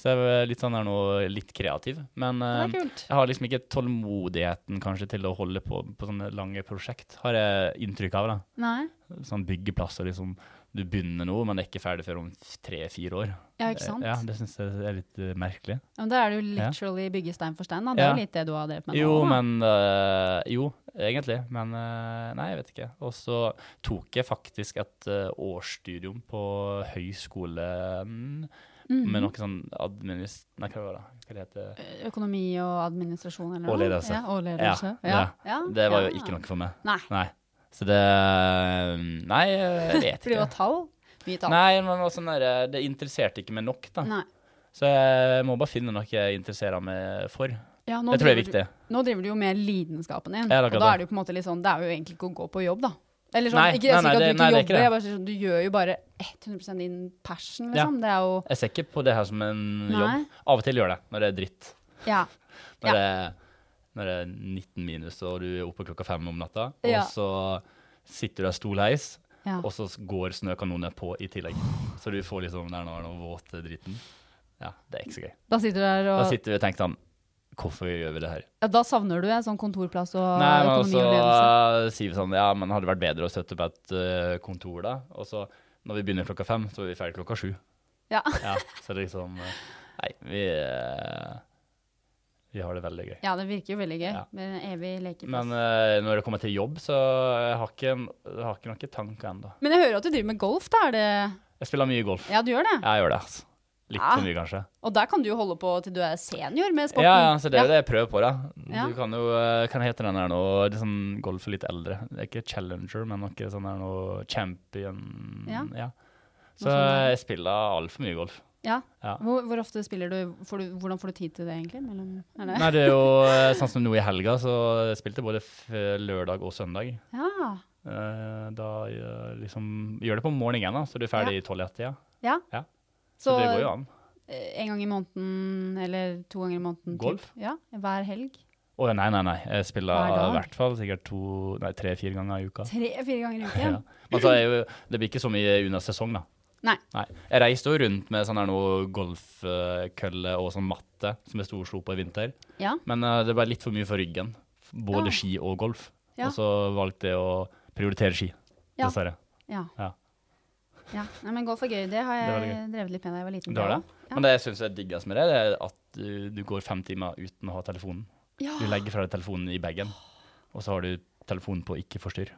D: Så jeg er litt sånn her nå litt kreativ. Men
C: det er
D: eh,
C: kult.
D: jeg har liksom ikke tålmodigheten kanskje til å holde på på sånne lange prosjekt, har jeg inntrykk av. da.
C: Nei,
D: Sånn byggeplasser liksom Du begynner noe, men det er ikke ferdig før om tre-fire år.
C: ja, ikke sant?
D: Eh, Ja, Det syns jeg er litt eh, merkelig.
C: Ja, Men da er det jo
D: Ja.
C: literally bygge stein for stein, da. Det er
D: Ja.
C: jo litt det du har drevet med nå.
D: Jo,
C: da.
D: men øh, Jo, egentlig. Men øh, nei, jeg vet ikke. Og så tok jeg faktisk et øh, årsstudium på høyskole mm,
C: Mhm. Eh,
D: med noe sånn administ... Nei, hva var det? Hva det heter det?
C: Økonomi og administrasjon eller
D: Og
C: noe?
D: ledelse.
C: Ja, og ledelse.
D: Ja,
C: Ja.
D: ja.
C: ja,
D: Det var jo
C: ja.
D: ikke noe for meg.
C: Nei,
D: Nei. Så det øh, Nei, jeg vet
C: for det var
D: ikke.
C: tall. Mye tall.
D: Nei, men det var sånn der, det interesserte ikke meg nok, da.
C: Nei.
D: Så jeg må bare finne noe jeg interesserer meg for.
C: Ja, nå
D: Det tror jeg er
C: driver
D: viktig.
C: Du, nå driver du jo med lidenskapen din,
D: Ja, det er
C: og
D: akkurat
C: da
D: det.
C: er det jo på en måte litt sånn Det er jo egentlig ikke å gå på jobb, da. Eller sånn,
D: Nei,
C: ikke, jeg
D: nei,
C: sier
D: nei,
C: ikke at du
D: det-
C: ikke
D: nei, det er ikke
C: jobber,
D: det.
C: jeg bare sier sånn, du gjør jo bare 100 din passion,
D: Ja.
C: liksom. Det er jo
D: Jeg ser ikke på det her som en
C: Nei.
D: jobb. Av og til gjør det, når det er dritt.
C: Ja.
D: Når, det, når det er 19 minus, og du er oppe klokka fem om natta, og
C: Ja.
D: så sitter du i stolheis,
C: ja.
D: og så s- går snøkanonene på i tillegg. Så du får liksom den der noe våte driten. Ja, det er ikke så gøy.
C: Da sitter du der og
D: Da sitter vi og tenker sånn Hvorfor gjør vi det her?
C: ja, Da savner du en sånn kontorplass og
D: Nei, men
C: økonomi
D: også
C: og ledelse.
D: eh, sier vi sånn Ja, men hadde det vært bedre å støtte på et eh, kontor da? Og så når vi begynner klokka fem, så er vi ferdig klokka sju.
C: Ja.
D: Ja, så det er liksom eh, Nei, vi eh, Vi har det veldig gøy.
C: ja, det virker jo veldig gøy.
D: Ja.
C: Med en evig lekeplass.
D: Men eh, når det kommer til jobb, så jeg har ikke, jeg har ikke noen tanker ennå.
C: Men jeg hører at du driver med golf, da er det
D: Jeg spiller mye golf.
C: Ja, du gjør det?
D: Jeg gjør det, altså. Litt
C: Ja.
D: for mye, kanskje.
C: Og der kan du jo holde på til du er senior med sporten.
D: Ja, ja, så det er jo det jeg prøver på, da.
C: Ja.
D: Du kan jo eh, Hva heter den her nå? Det er sånn golf for litt eldre. Det er ikke Challenger, men noe sånn her nå Champion
C: Ja.
D: Så
C: sånn, ja.
D: jeg spiller altfor mye golf.
C: Ja.
D: Ja.
C: Hvor, hvor ofte spiller du, får du Hvordan får du tid til det, egentlig? Mellom, er det?
D: Nei, det er jo eh, sånn som nå i helga, så jeg spilte både f eh, lørdag og søndag.
C: Ja.
D: Eh, Da eh, liksom Gjør det på morgenen, da, så du er ferdig i tolv-ett-tida.
C: ja.
D: Ja.
C: Så,
D: Så det går jo an.
C: eh, en gang i måneden eller to ganger i måneden? typ.
D: Golf?
C: Ja, Hver helg?
D: Å nei, nei, nei. Jeg spiller
C: Hver
D: i
C: dag?
D: hvert fall sikkert to, nei, tre-fire ganger i uka.
C: Tre-fire ganger i uken?
D: Ja. Men så er jo, det blir ikke så mye under sesong, da.
C: Nei.
D: Jeg reiste jo rundt med sånn her noe golfkølle og sånn matte som jeg sto og slo på i vinter.
C: Ja.
D: Men eh, det ble litt for mye for ryggen. F- Både
C: Ja.
D: ski og golf.
C: Ja.
D: Og så valgte jeg å prioritere ski,
C: Ja.
D: dessverre.
C: Ja.
D: Ja.
C: Ja. Nei, men golf er gøy. Det har
D: Det er
C: jeg
D: veldig
C: drevet litt med da jeg var liten.
D: Det var det.
C: Ja.
D: Men det jeg syns er diggest med det, det er at du, du går fem timer uten å ha telefonen.
C: Ja.
D: Du legger fra deg telefonen i bagen, og så har du telefonen på ikke forstyrr.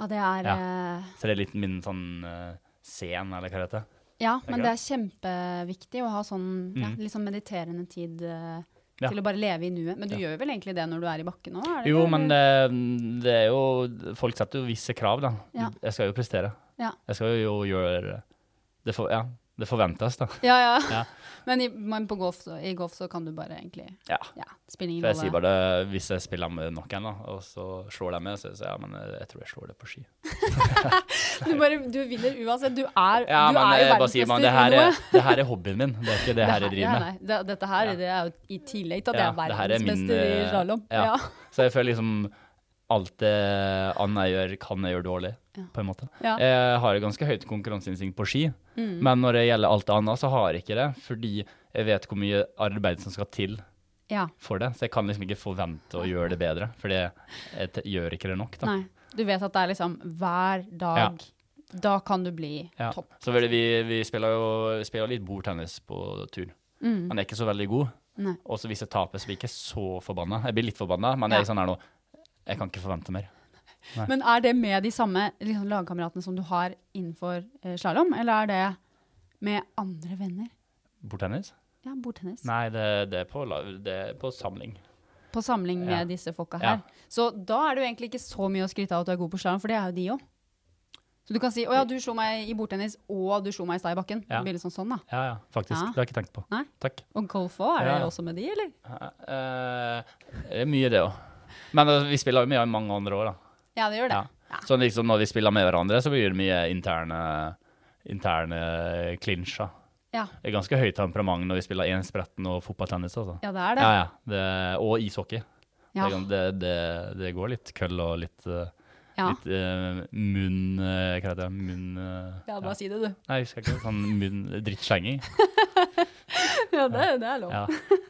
C: ja, det er eh,
D: Så det er litt min sånn eh, scen, eller hva det heter.
C: Ja, men
D: Ikke
C: det er kjempeviktig å ha sånn ja,
D: Mhm.
C: litt sånn mediterende tid eh,
D: Ja.
C: til å bare leve i nuet. Men du gjør jo vel egentlig det når du er i bakken òg?
D: Jo, men det, det er jo Folk setter jo visse krav, da.
C: Ja.
D: Jeg skal jo prestere.
C: Ja.
D: Jeg skal jo gjøre Det, for, ja, det forventes, da.
C: Ja, ja.
D: Ja.
C: Men, i, men på golf, så, i golf så kan du bare egentlig
D: Ja.
C: ja, spille ingen
D: For jeg sier
C: rolle.
D: bare det hvis jeg spiller med noen, da, og så slår de meg, så sier jeg ja, men eh, jeg, jeg tror jeg slår det på ski.
C: Du, bare, du vinner uansett. Du er,
D: Ja,
C: du
D: men
C: er jo
D: jeg bare sier man,
C: verdensmester
D: det
C: i
D: her,
C: noe.
D: er, det her er hobbyen min, det er ikke det, her jeg driver
C: ja,
D: med.
C: nei, det, dette her
D: Ja.
C: det er jo i tillegg til at
D: Ja,
C: jeg
D: det
C: er
D: her er min,
C: verdensmester i
D: eh,
C: slalåm.
D: ja.
C: Ja.
D: Så jeg føler liksom alt det annet jeg gjør, kan jeg gjøre dårlig,
C: Ja.
D: på en måte.
C: Ja. Mm.
D: Jeg har jo ganske høyt konkurranseinstinkt på ski, men når det gjelder alt det annet, så har jeg ikke det, fordi jeg vet hvor mye arbeid som skal til
C: ja.
D: for det, så jeg kan liksom ikke forvente å gjøre det bedre, fordi jeg t gjør ikke det nok, da.
C: Nei. Du vet at det er liksom hver dag. Da kan du bli
D: Ja.
C: topp.
D: Så vel, vi, vi spiller jo spiller litt bordtennis på tur, men jeg er ikke så veldig god.
C: Mm. Nei.
D: Og så hvis jeg taper, så blir jeg ikke så forbanna. Jeg blir litt forbanna, men jeg
C: Ja.
D: er sånn her nå, jeg kan ikke forvente mer.
C: Men er det med de samme liksom, lagkameratene som du har innenfor eh, slalåm, eller er det med andre venner?
D: Bordtennis?
C: Ja, bordtennis.
D: Nei, det, det, er på, la- det er på samling.
C: På samling med
D: Ja.
C: disse folka
D: Ja.
C: her. Så da er det jo egentlig ikke så mye å skryte av at du er god på slalåm, for det er jo de òg. Så du kan si 'Å ja, du slo meg i bordtennis, og du slo meg i stad i bakken'.
D: Ja.
C: Det blir litt sånn sånn, da.
D: Ja, ja, faktisk.
C: Ja.
D: Det har jeg ikke tenkt på.
C: Nei?
D: Takk.
C: Og golf òg, er det
D: Ja.
C: også med de, eller?
D: Eh, det er mye, det òg. Men eh, vi spiller jo mye i mange andre år, da.
C: Ja, det gjør det.
D: Ja. Så liksom når vi spiller med hverandre, så blir det mye interne, interne klinsjer.
C: Ja.
D: Det er ganske høyt temperament når vi spiller enspretten og fotballtennis. Altså.
C: ja, det er det.
D: Ja, ja. Det, og ishockey.
C: Ja.
D: Det, det, det, det går litt køll og litt, eh,
C: Ja.
D: litt eh, munn eh, Hva heter det? Munn eh,
C: Ja,
D: ja.
C: bare si det, du.
D: Nei, jeg husker ikke. Sånn munn drittslenging.
C: Ja, det, er lov.
D: Ja.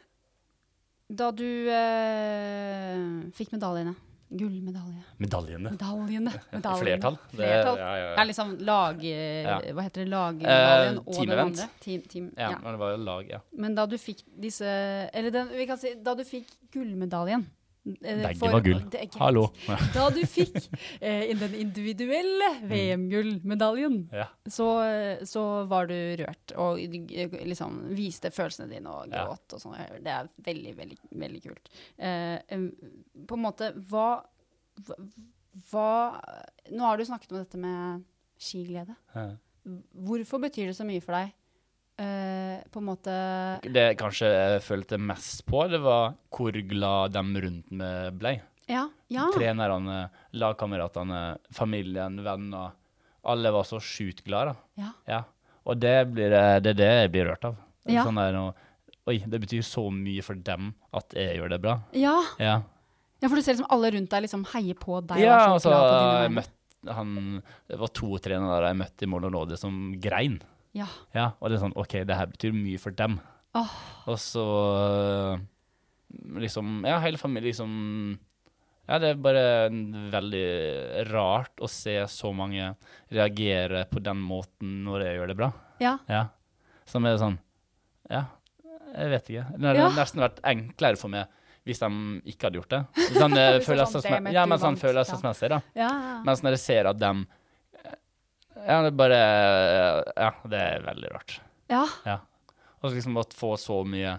C: Da du eh, fikk medaljene, gullmedalje,
D: Medaljene.
C: medaljene,
D: I
C: medaljene.
D: flertall. Det-
C: Flertall.
D: Ja, ja,
C: Ja,
D: ja.
C: liksom lag... eh,
D: Ja.
C: Hva heter det? Lagmedaljen
D: Eh,
C: og
D: team
C: den
D: event.
C: andre. Team, team,
D: ja,
C: ja.
D: men det var jo lag, ja.
C: Men da du fikk disse Eller den, vi kan si da du fikk gullmedaljen eh,
D: Begge
C: for-
D: var gull.
C: Det er greit.
D: Hallo.
C: Da du fikk eh, i den individuelle
D: Mm.
C: VM-gullmedaljen,
D: Ja.
C: så, så var du rørt og eh, liksom viste følelsene dine og
D: Ja.
C: gråt og sånn. Det er veldig, veldig, veldig kult. Eh, em, på en måte, hva, hva Nå har du snakket om dette med skiglede.
D: Ja.
C: Hvorfor betyr det så mye for deg? Eh, på en måte
D: Det jeg kanskje jeg følte mest på, det var hvor glad de rundt meg ble.
C: Ja. ja.
D: Trenerne, lagkameratene, familien, venner. Alle var så sjukt glade. da.
C: ja.
D: Ja. Og det, blir, eh, det er det jeg blir rørt av. Det er
C: Ja.
D: Sånn der, nå, Oi, det betyr så mye for dem at jeg gjør det bra.
C: Ja,
D: Ja,
C: ja for du ser liksom alle rundt deg liksom heier på deg.
D: ja
C: og er så
D: altså,
C: glad på dine
D: jeg
C: vegne.
D: møtte han, det var to trenere jeg møtte i Molonode som grein.
C: Ja.
D: Ja, og det er sånn, ok, det her betyr mye for dem.
C: Åh,
D: Og så øh, liksom Ja, hele familien liksom Ja, det er bare en veldig rart å se så mange reagere på den måten når jeg gjør det bra.
C: ja.
D: Ja. Som er sånn Ja, jeg vet ikke. Det hadde
C: Ja.
D: nesten vært enklere for meg hvis de ikke hadde gjort det. Sånn, eh,
C: Hvis det er sånn,
D: følelsesme-
C: damn it,
D: ja,
C: du
D: men sånn
C: vant.
D: følelsesmessig, da.
C: ja.
D: Mens når jeg ser at de Ja, det er bare Ja, det er veldig rart.
C: ja.
D: Ja. Og så liksom å få så mye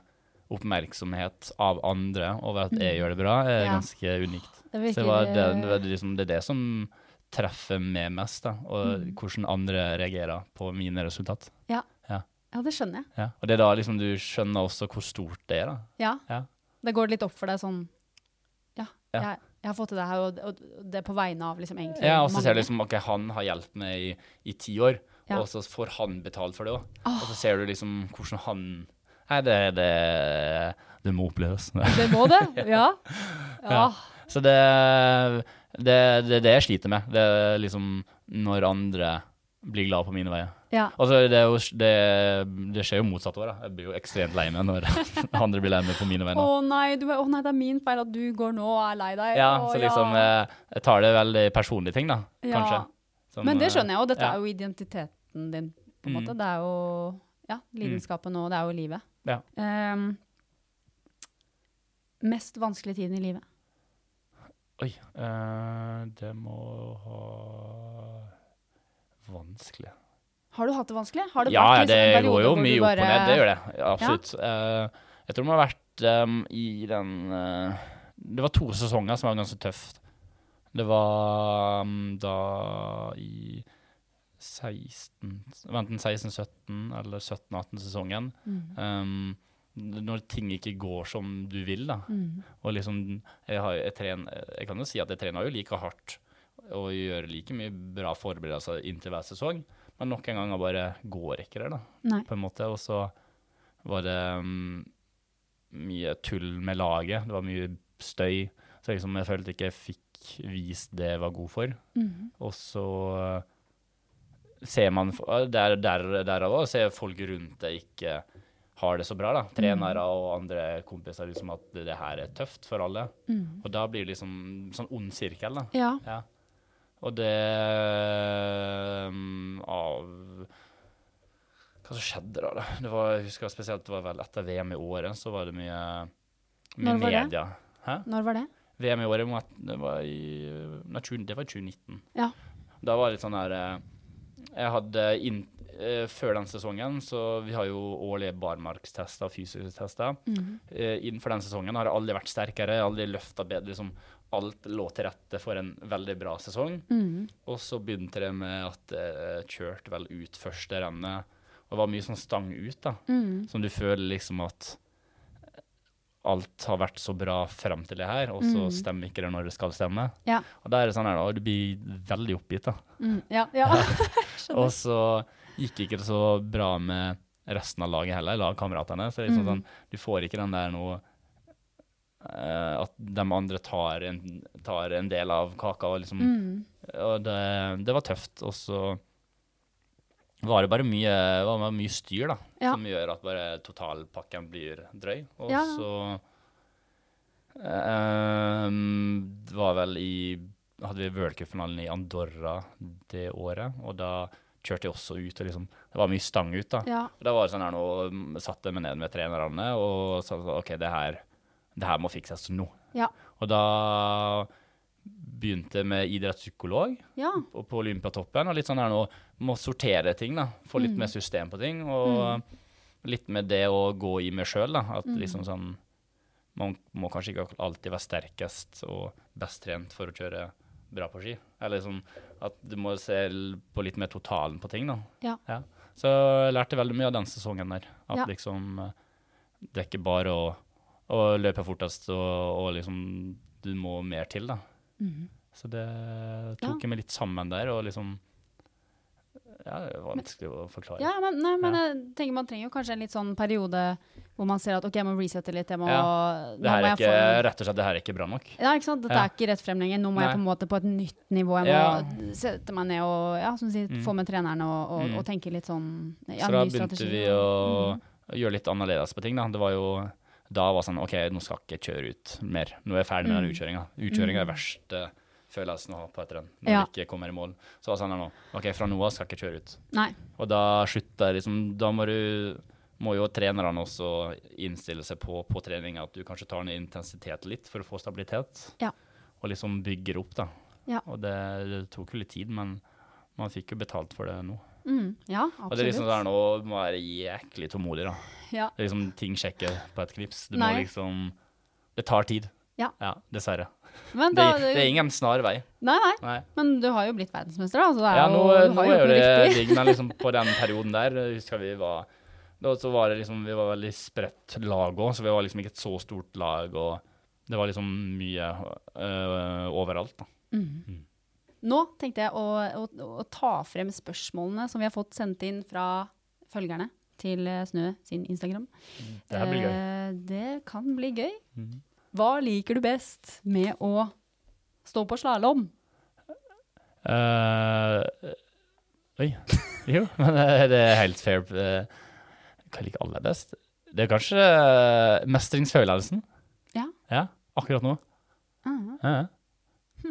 D: oppmerksomhet av andre over at jeg gjør det bra, er
C: Mm. Ja.
D: ganske unikt.
C: Det
D: Så
C: virker
D: det, var, det, det, var liksom, det er det som treffer meg mest, da, og
C: Mm.
D: hvordan andre reagerer på mine resultat.
C: Ja.
D: Ja.
C: ja, det skjønner jeg.
D: Ja. Og det er da liksom du skjønner også hvor stort det er, da.
C: Ja.
D: Ja.
C: Da går det litt opp for deg sånn Ja,
D: Ja.
C: Jeg, jeg har fått til det her, og, og det er på vegne av liksom egentlig
D: Ja, og så
C: mange.
D: ser du liksom, ok, han har hjulpet meg i, i ti år,
C: Ja.
D: og så får han betalt for det også. Og så ser du liksom hvordan han, nei, det, det, det må oppleves.
C: Det må det? Ja. ja. Ah,
D: Ja. Så det det, det er det jeg sliter med. Det er liksom når andre blir glad på mine veier.
C: ja.
D: Altså, det, er jo, det, det skjer jo motsatt år. da. Jeg blir jo ekstremt lei meg når andre blir lei meg på mine
C: Å
D: vegne.
C: nei, du, å nei, det er min feil at du går nå og er lei deg.
D: Ja,
C: Å,
D: så liksom eh, Jeg tar det veldig personlige ting, da.
C: Ja.
D: Kanskje. Som, eh,
C: Men det skjønner jeg jo, dette
D: ja.
C: er jo identiteten din, på en
D: Mm.
C: måte. Det er jo ja, lidenskapen og det er jo livet.
D: Ja.
C: Ehm, mest vanskelige tiden i livet.
D: Oi. eh, det må ha Vanskelig.
C: Har du hatt det vanskelig? Har det
D: ja,
C: vært
D: ja, det
C: liksom en periode
D: går jo
C: hvor du
D: mye opp og
C: bare-
D: ned, det gjør det. Ja, Absolutt. Eh, jeg tror det må ha vært em, i den eh, Det var to sesonger som var ganske tøft. Det var em, da i 16 Vent, den 16-17 eller 17-18-sesongen.
C: Mm.
D: Um, når ting ikke går som du vil, da.
C: Mm.
D: Og liksom, jeg, har, jeg, tren, jeg kan jo si at jeg trener jo like hardt og gjør like mye bra forberedelser inntil hver sesong, men nok en gang bare går ikke det, da,
C: Nei.
D: på en måte. Og så var det mm, mye tull med laget, det var mye støy, så liksom jeg følte ikke jeg fikk vist det jeg var god for.
C: Mm.
D: Og så eh, ser man der, der, Derav òg ser folk rundt deg ikke har det så bra. da. Trenere og andre kompiser liksom at det her er tøft for alle.
C: Mm.
D: Og da blir det liksom sånn ond sirkel. da.
C: Ja.
D: Ja. Og det um, av Hva som skjedde da? da? Det var, jeg husker spesielt det var vel etter VM i året, så var det mye, mye
C: Når var det?
D: media. Hæ?
C: Når var det?
D: VM i året var, det var i nei, 20, det var i 2019.
C: Ja.
D: Da var det litt sånn her eh, Jeg hadde inn, eh, Før den sesongen, så vi har jo årlige barmarkstester og fysiske tester.
C: Mhm.
D: Eh, innenfor den sesongen har jeg aldri vært sterkere, jeg har aldri løfta bedre. Liksom, alt lå til rette for en veldig bra sesong.
C: Mm.
D: Og så begynte det med at jeg kjørte vel ut første rennet, og det var mye sånn stang ut, da. Som du føler liksom at eh, alt har vært så bra frem til det her, og så stemmer ikke det når det skal stemme.
C: Ja.
D: Og da er det sånn her, da, du blir veldig oppgitt, da.
C: Mm. Ja. ja.
D: Og så gikk ikke det så bra med resten av laget heller, lagkameratene. Så det er liksom sånn, du får ikke den der noe eh, At de andre tar en, tar en del av kaka. Og, liksom,
C: Mm.
D: og det, det var tøft. Og så var det bare mye, var bare mye styr, da.
C: Ja.
D: Som gjør at bare totalpakken blir drøy. Og
C: Ja.
D: så eh, det var vel i hadde vi worldcupfinalen i Andorra det året, og da kjørte jeg også ut, og liksom, det var mye stang ut da.
C: ja.
D: Og da var det sånn her nå, mm, satte jeg meg ned med trenerne, og sa sånn, ok, det her, det her må fikses nå.
C: Ja.
D: Og da begynte jeg med idrettspsykolog
C: ja.
D: og på Olympiatoppen, og litt sånn her nå, må sortere ting da, få litt mer system på ting, og litt med det å gå i meg selv da,
C: Mm.
D: at liksom sånn, man må kanskje ikke alltid være sterkest og best trent for å kjøre bra på ski, eller liksom at du må se l- på litt mer totalen på ting da.
C: Ja.
D: Så jeg lærte veldig mye av den sesongen der, at
C: Ja.
D: liksom, eh, det er ikke bare å, å løpe fortest, og, og liksom, du må mer til da. Så det tok
C: Mm-hmm. Ja.
D: jeg meg litt sammen der, og liksom Ja, det er vanskelig å forklare.
C: Ja, men, nei, men
D: Ja.
C: jeg tenker man trenger jo kanskje en litt sånn periode hvor man ser at ok, jeg må resette litt, jeg må
D: Ja.
C: nå
D: Det her
C: må
D: er
C: jeg
D: ikke,
C: få-
D: rett og slett, det her er ikke bra nok.
C: Ja, ikke sant? Dette
D: Ja.
C: er ikke rett frem lenger. Nå må jeg
D: Nei.
C: på en måte på et nytt nivå. Jeg må
D: Ja. Mm.
C: sette meg ned og ja, som du sier, få med trenerne og, og, og tenke litt sånn ja,
D: Så da
C: ny
D: begynte
C: strategi.
D: vi
C: Mm.
D: å gjøre litt annerledes på ting. Da Det var jo da var det sånn OK, nå skal jeg ikke kjøre ut mer. Nå er jeg ferdig med
C: Mm.
D: den utkjøringa. Utkjøringa er verste følelsen å ha på et renn når
C: Ja.
D: du ikke kommer i mål. Så var det sånn her nå OK, fra nå av skal jeg ikke kjøre ut.
C: Nei.
D: Og da slutter jeg liksom Da må du må jo trenerne også innstille seg på på trening at du kanskje tar ned intensitet litt for å få stabilitet,
C: Ja.
D: og liksom bygger opp, da.
C: Ja.
D: Og det, det tok jo litt tid, men man fikk jo betalt for det nå.
C: Mm. Ja,
D: Og det er
C: absolutt.
D: liksom sånn, nå må jeg være jæklig tålmodig, da.
C: Ja.
D: Det er liksom ting sjekker på et knips. Du
C: Nei.
D: må liksom Det tar tid.
C: Ja.
D: dessverre.
C: Men
D: Det,
C: da,
D: det er ingen snar vei.
C: Nei, nei.
D: Nei.
C: Men du har jo blitt verdensmester, da. Så det er
D: Ja, nå, eh,
C: jo,
D: nå
C: du har
D: er
C: gjort
D: jo
C: noe
D: det
C: riktig.
D: digg, men liksom på den perioden der eh, husker jeg vi var da så var det liksom, Vi var veldig spredt lag òg, så vi var liksom ikke et så stort lag. og Det var liksom mye eh, overalt. da.
C: Nå tenkte jeg å, å, å ta frem spørsmålene som vi har fått sendt inn fra følgerne til eh, Snø sin Instagram.
D: Det her blir gøy.
C: Eh, det kan bli gøy.
D: Eh.
C: Hva liker du best med å stå på slalåm?
D: Mm. Eh, oi. Jo, men eh, det er helt fair. eh, Hva liker aller best? Det er kanskje eh, mestringsfølelsen.
C: Ja.
D: Ja, akkurat nå.
C: Ah,
D: Ja, ja.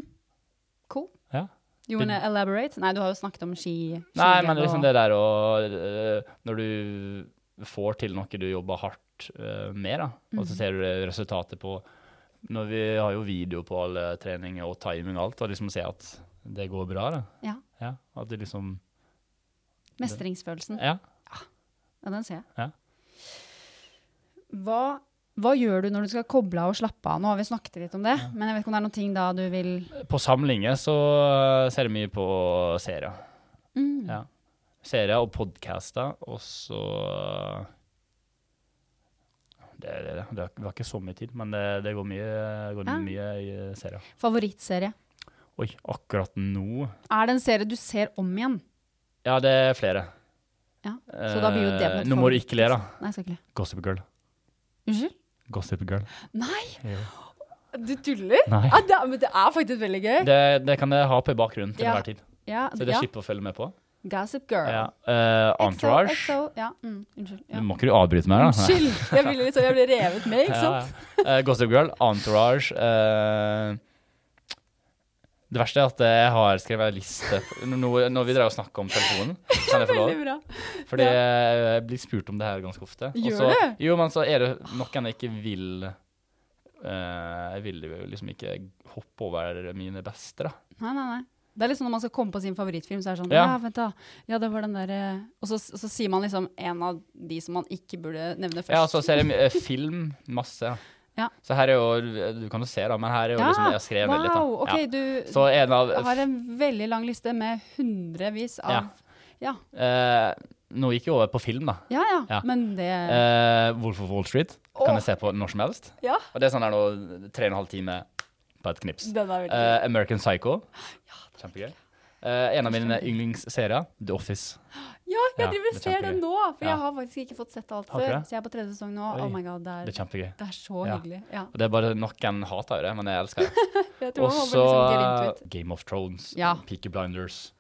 C: cool.
D: Ja.
C: You wanna elaborate? Nei, du har jo snakket om ski.
D: Nei,
C: skiløp
D: men det er
C: og-
D: liksom det der å øh, Når du får til noe du jobber hardt øh, med, da, og
C: Mhm.
D: så ser du det resultatet på Når vi har jo video på alle treninger og timing og alt, og liksom ser at det går bra, da.
C: Ja,
D: Ja, at det liksom
C: mestringsfølelsen.
D: Ja.
C: Ja, den ser jeg.
D: Ja.
C: Hva, hva gjør du når du skal koble av og slappe av? Nå har vi snakket litt om det, men jeg vet ikke om det er noen ting da du vil
D: På samlinger så øh, ser jeg mye på serier.
C: Mm.
D: Ja. Serier og podcaster, og så eh, det, det, det, det var ikke så mye tid, men det, det går mye, går
C: Ja.
D: mye i serier.
C: Favorittserie.
D: Oi, akkurat nå
C: Er det en serie du ser om igjen?
D: Ja, det er flere.
C: Ja. Så da blir jo det
D: Eh, Nå må du ikke le, da.
C: Nei, jeg skal ikke le.
D: Gossip Girl.
C: Unnskyld?
D: Gossip Girl.
C: Nei!
D: Jo.
C: Du tuller?
D: Nei.
C: Ja, det, er- men Ah, det er faktisk veldig gøy.
D: Det, det kan jeg ha på i bakgrunnen til
C: Ja.
D: enhver tid,
C: ja,
D: så det
C: ja.
D: slipper å følge med på.
C: Gossip Girl.
D: Ja. Eh, entourage.
C: XO, XO, ja. Mm, unnskyld. Ja.
D: Nå må ikke du avbryte meg, da.
C: Unnskyld! Jeg, ville liksom, jeg ble revet med, ikke
D: Ja,
C: sant?
D: ja. Eh, Gossip Girl, Entourage eh, Det verste er at jeg har skrevet en liste når, når vi drev og snakka om telefonen. Kan jeg få lov?
C: Veldig bra.
D: Fordi
C: Ja.
D: jeg blir spurt om det her ganske ofte. Og
C: Gjør
D: så,
C: du?
D: Jo, men så er det noen jeg ikke vil eh, Jeg vil jo liksom ikke hoppe over mine beste, da.
C: Nei, nei, nei. Det er liksom når man skal komme på sin favorittfilm, så er det sånn Ja,
D: Ja.
C: vent da. Ja, det var den der eh», Og så, så
D: altså,
C: sier man liksom en av de som man ikke burde nevne først.
D: Ja, og så ser jeg my- eh, film masse.
C: Ja.
D: Så her er jo Du kan jo se, da, men her er jo
C: Ja,
D: liksom Jeg har skrevet ned litt, da.
C: Wow, ok,
D: Ja.
C: du
D: Så eh, en av
C: har en veldig lang liste med hundrevis av Ja,
D: eh, Nå gikk jeg over på film, da.
C: ja, ja,
D: Ja.
C: men det
D: Eh, Wolf of Wall Street
C: Åh.
D: kan jeg se på når som helst.
C: Ja,
D: Og det er sånn der nå tre og en halv time på et knips.
C: den er veldig
D: Eh, American Psycho. Kjempegøy. Eh, en av mine yndlingsserier, The Office.
C: Ja, jeg
D: Ja,
C: driver
D: det
C: og
D: er
C: ser den
D: kjempegøy.
C: nå, for
D: Ja.
C: jeg har faktisk ikke fått sett alt
D: Har du
C: før.
D: det?
C: Så jeg er på tredje sesong nå.
D: Oi.
C: Oh my god, det er,
D: Det er kjempegøy.
C: det er så
D: Ja.
C: hyggelig. Ja.
D: Og det er bare Noen hater jo det, men jeg elsker det.
C: Jeg tror
D: Og
C: man må
D: så
C: liksom get into it.
D: Game of Thrones,
C: Ja.
D: Peaky Blinders.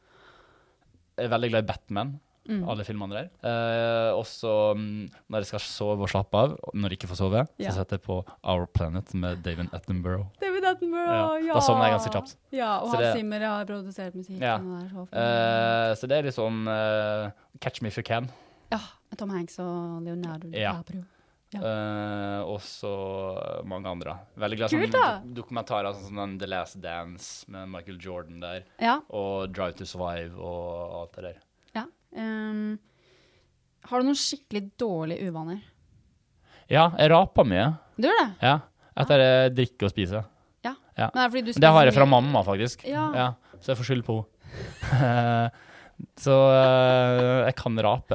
D: Jeg er veldig glad i Batman,
C: Mm.
D: alle filmene der. Eh, og så mm, når jeg skal sove og slappe av, og når jeg ikke får sove,
C: Ja.
D: så setter jeg på Our Planet med David Attenborough.
C: David Attenborough, ja.
D: Ja, da sovner jeg ganske kjapt.
C: Ja, og
D: Så det-
C: Hans Zimmer har produsert musikken.
D: Ja.
C: Og det er så fint.
D: Eh, så det er litt sånn eh, Catch me if you can.
C: ja, med Tom Hanks og Leonardo
D: Ja.
C: DiCaprio. Ja.
D: Eh, og så mange andre. Veldig glad i sånne
C: Kult, da!
D: do- dokumentarer sånn som den The Last Dance med Michael Jordan der,
C: Ja,
D: og Drive to Survive og alt det der.
C: ja. Ehm, har du noen skikkelig dårlige uvaner?
D: Ja, jeg raper mye.
C: Du gjør det?
D: Ja. Etter eh, drikke og spise.
C: Ja.
D: Ja.
C: Men er det fordi du
D: Det har jeg
C: spiser
D: fra
C: mye-
D: mamma, faktisk.
C: Ja.
D: så jeg får skyld på henne. så eh, jeg kan rape.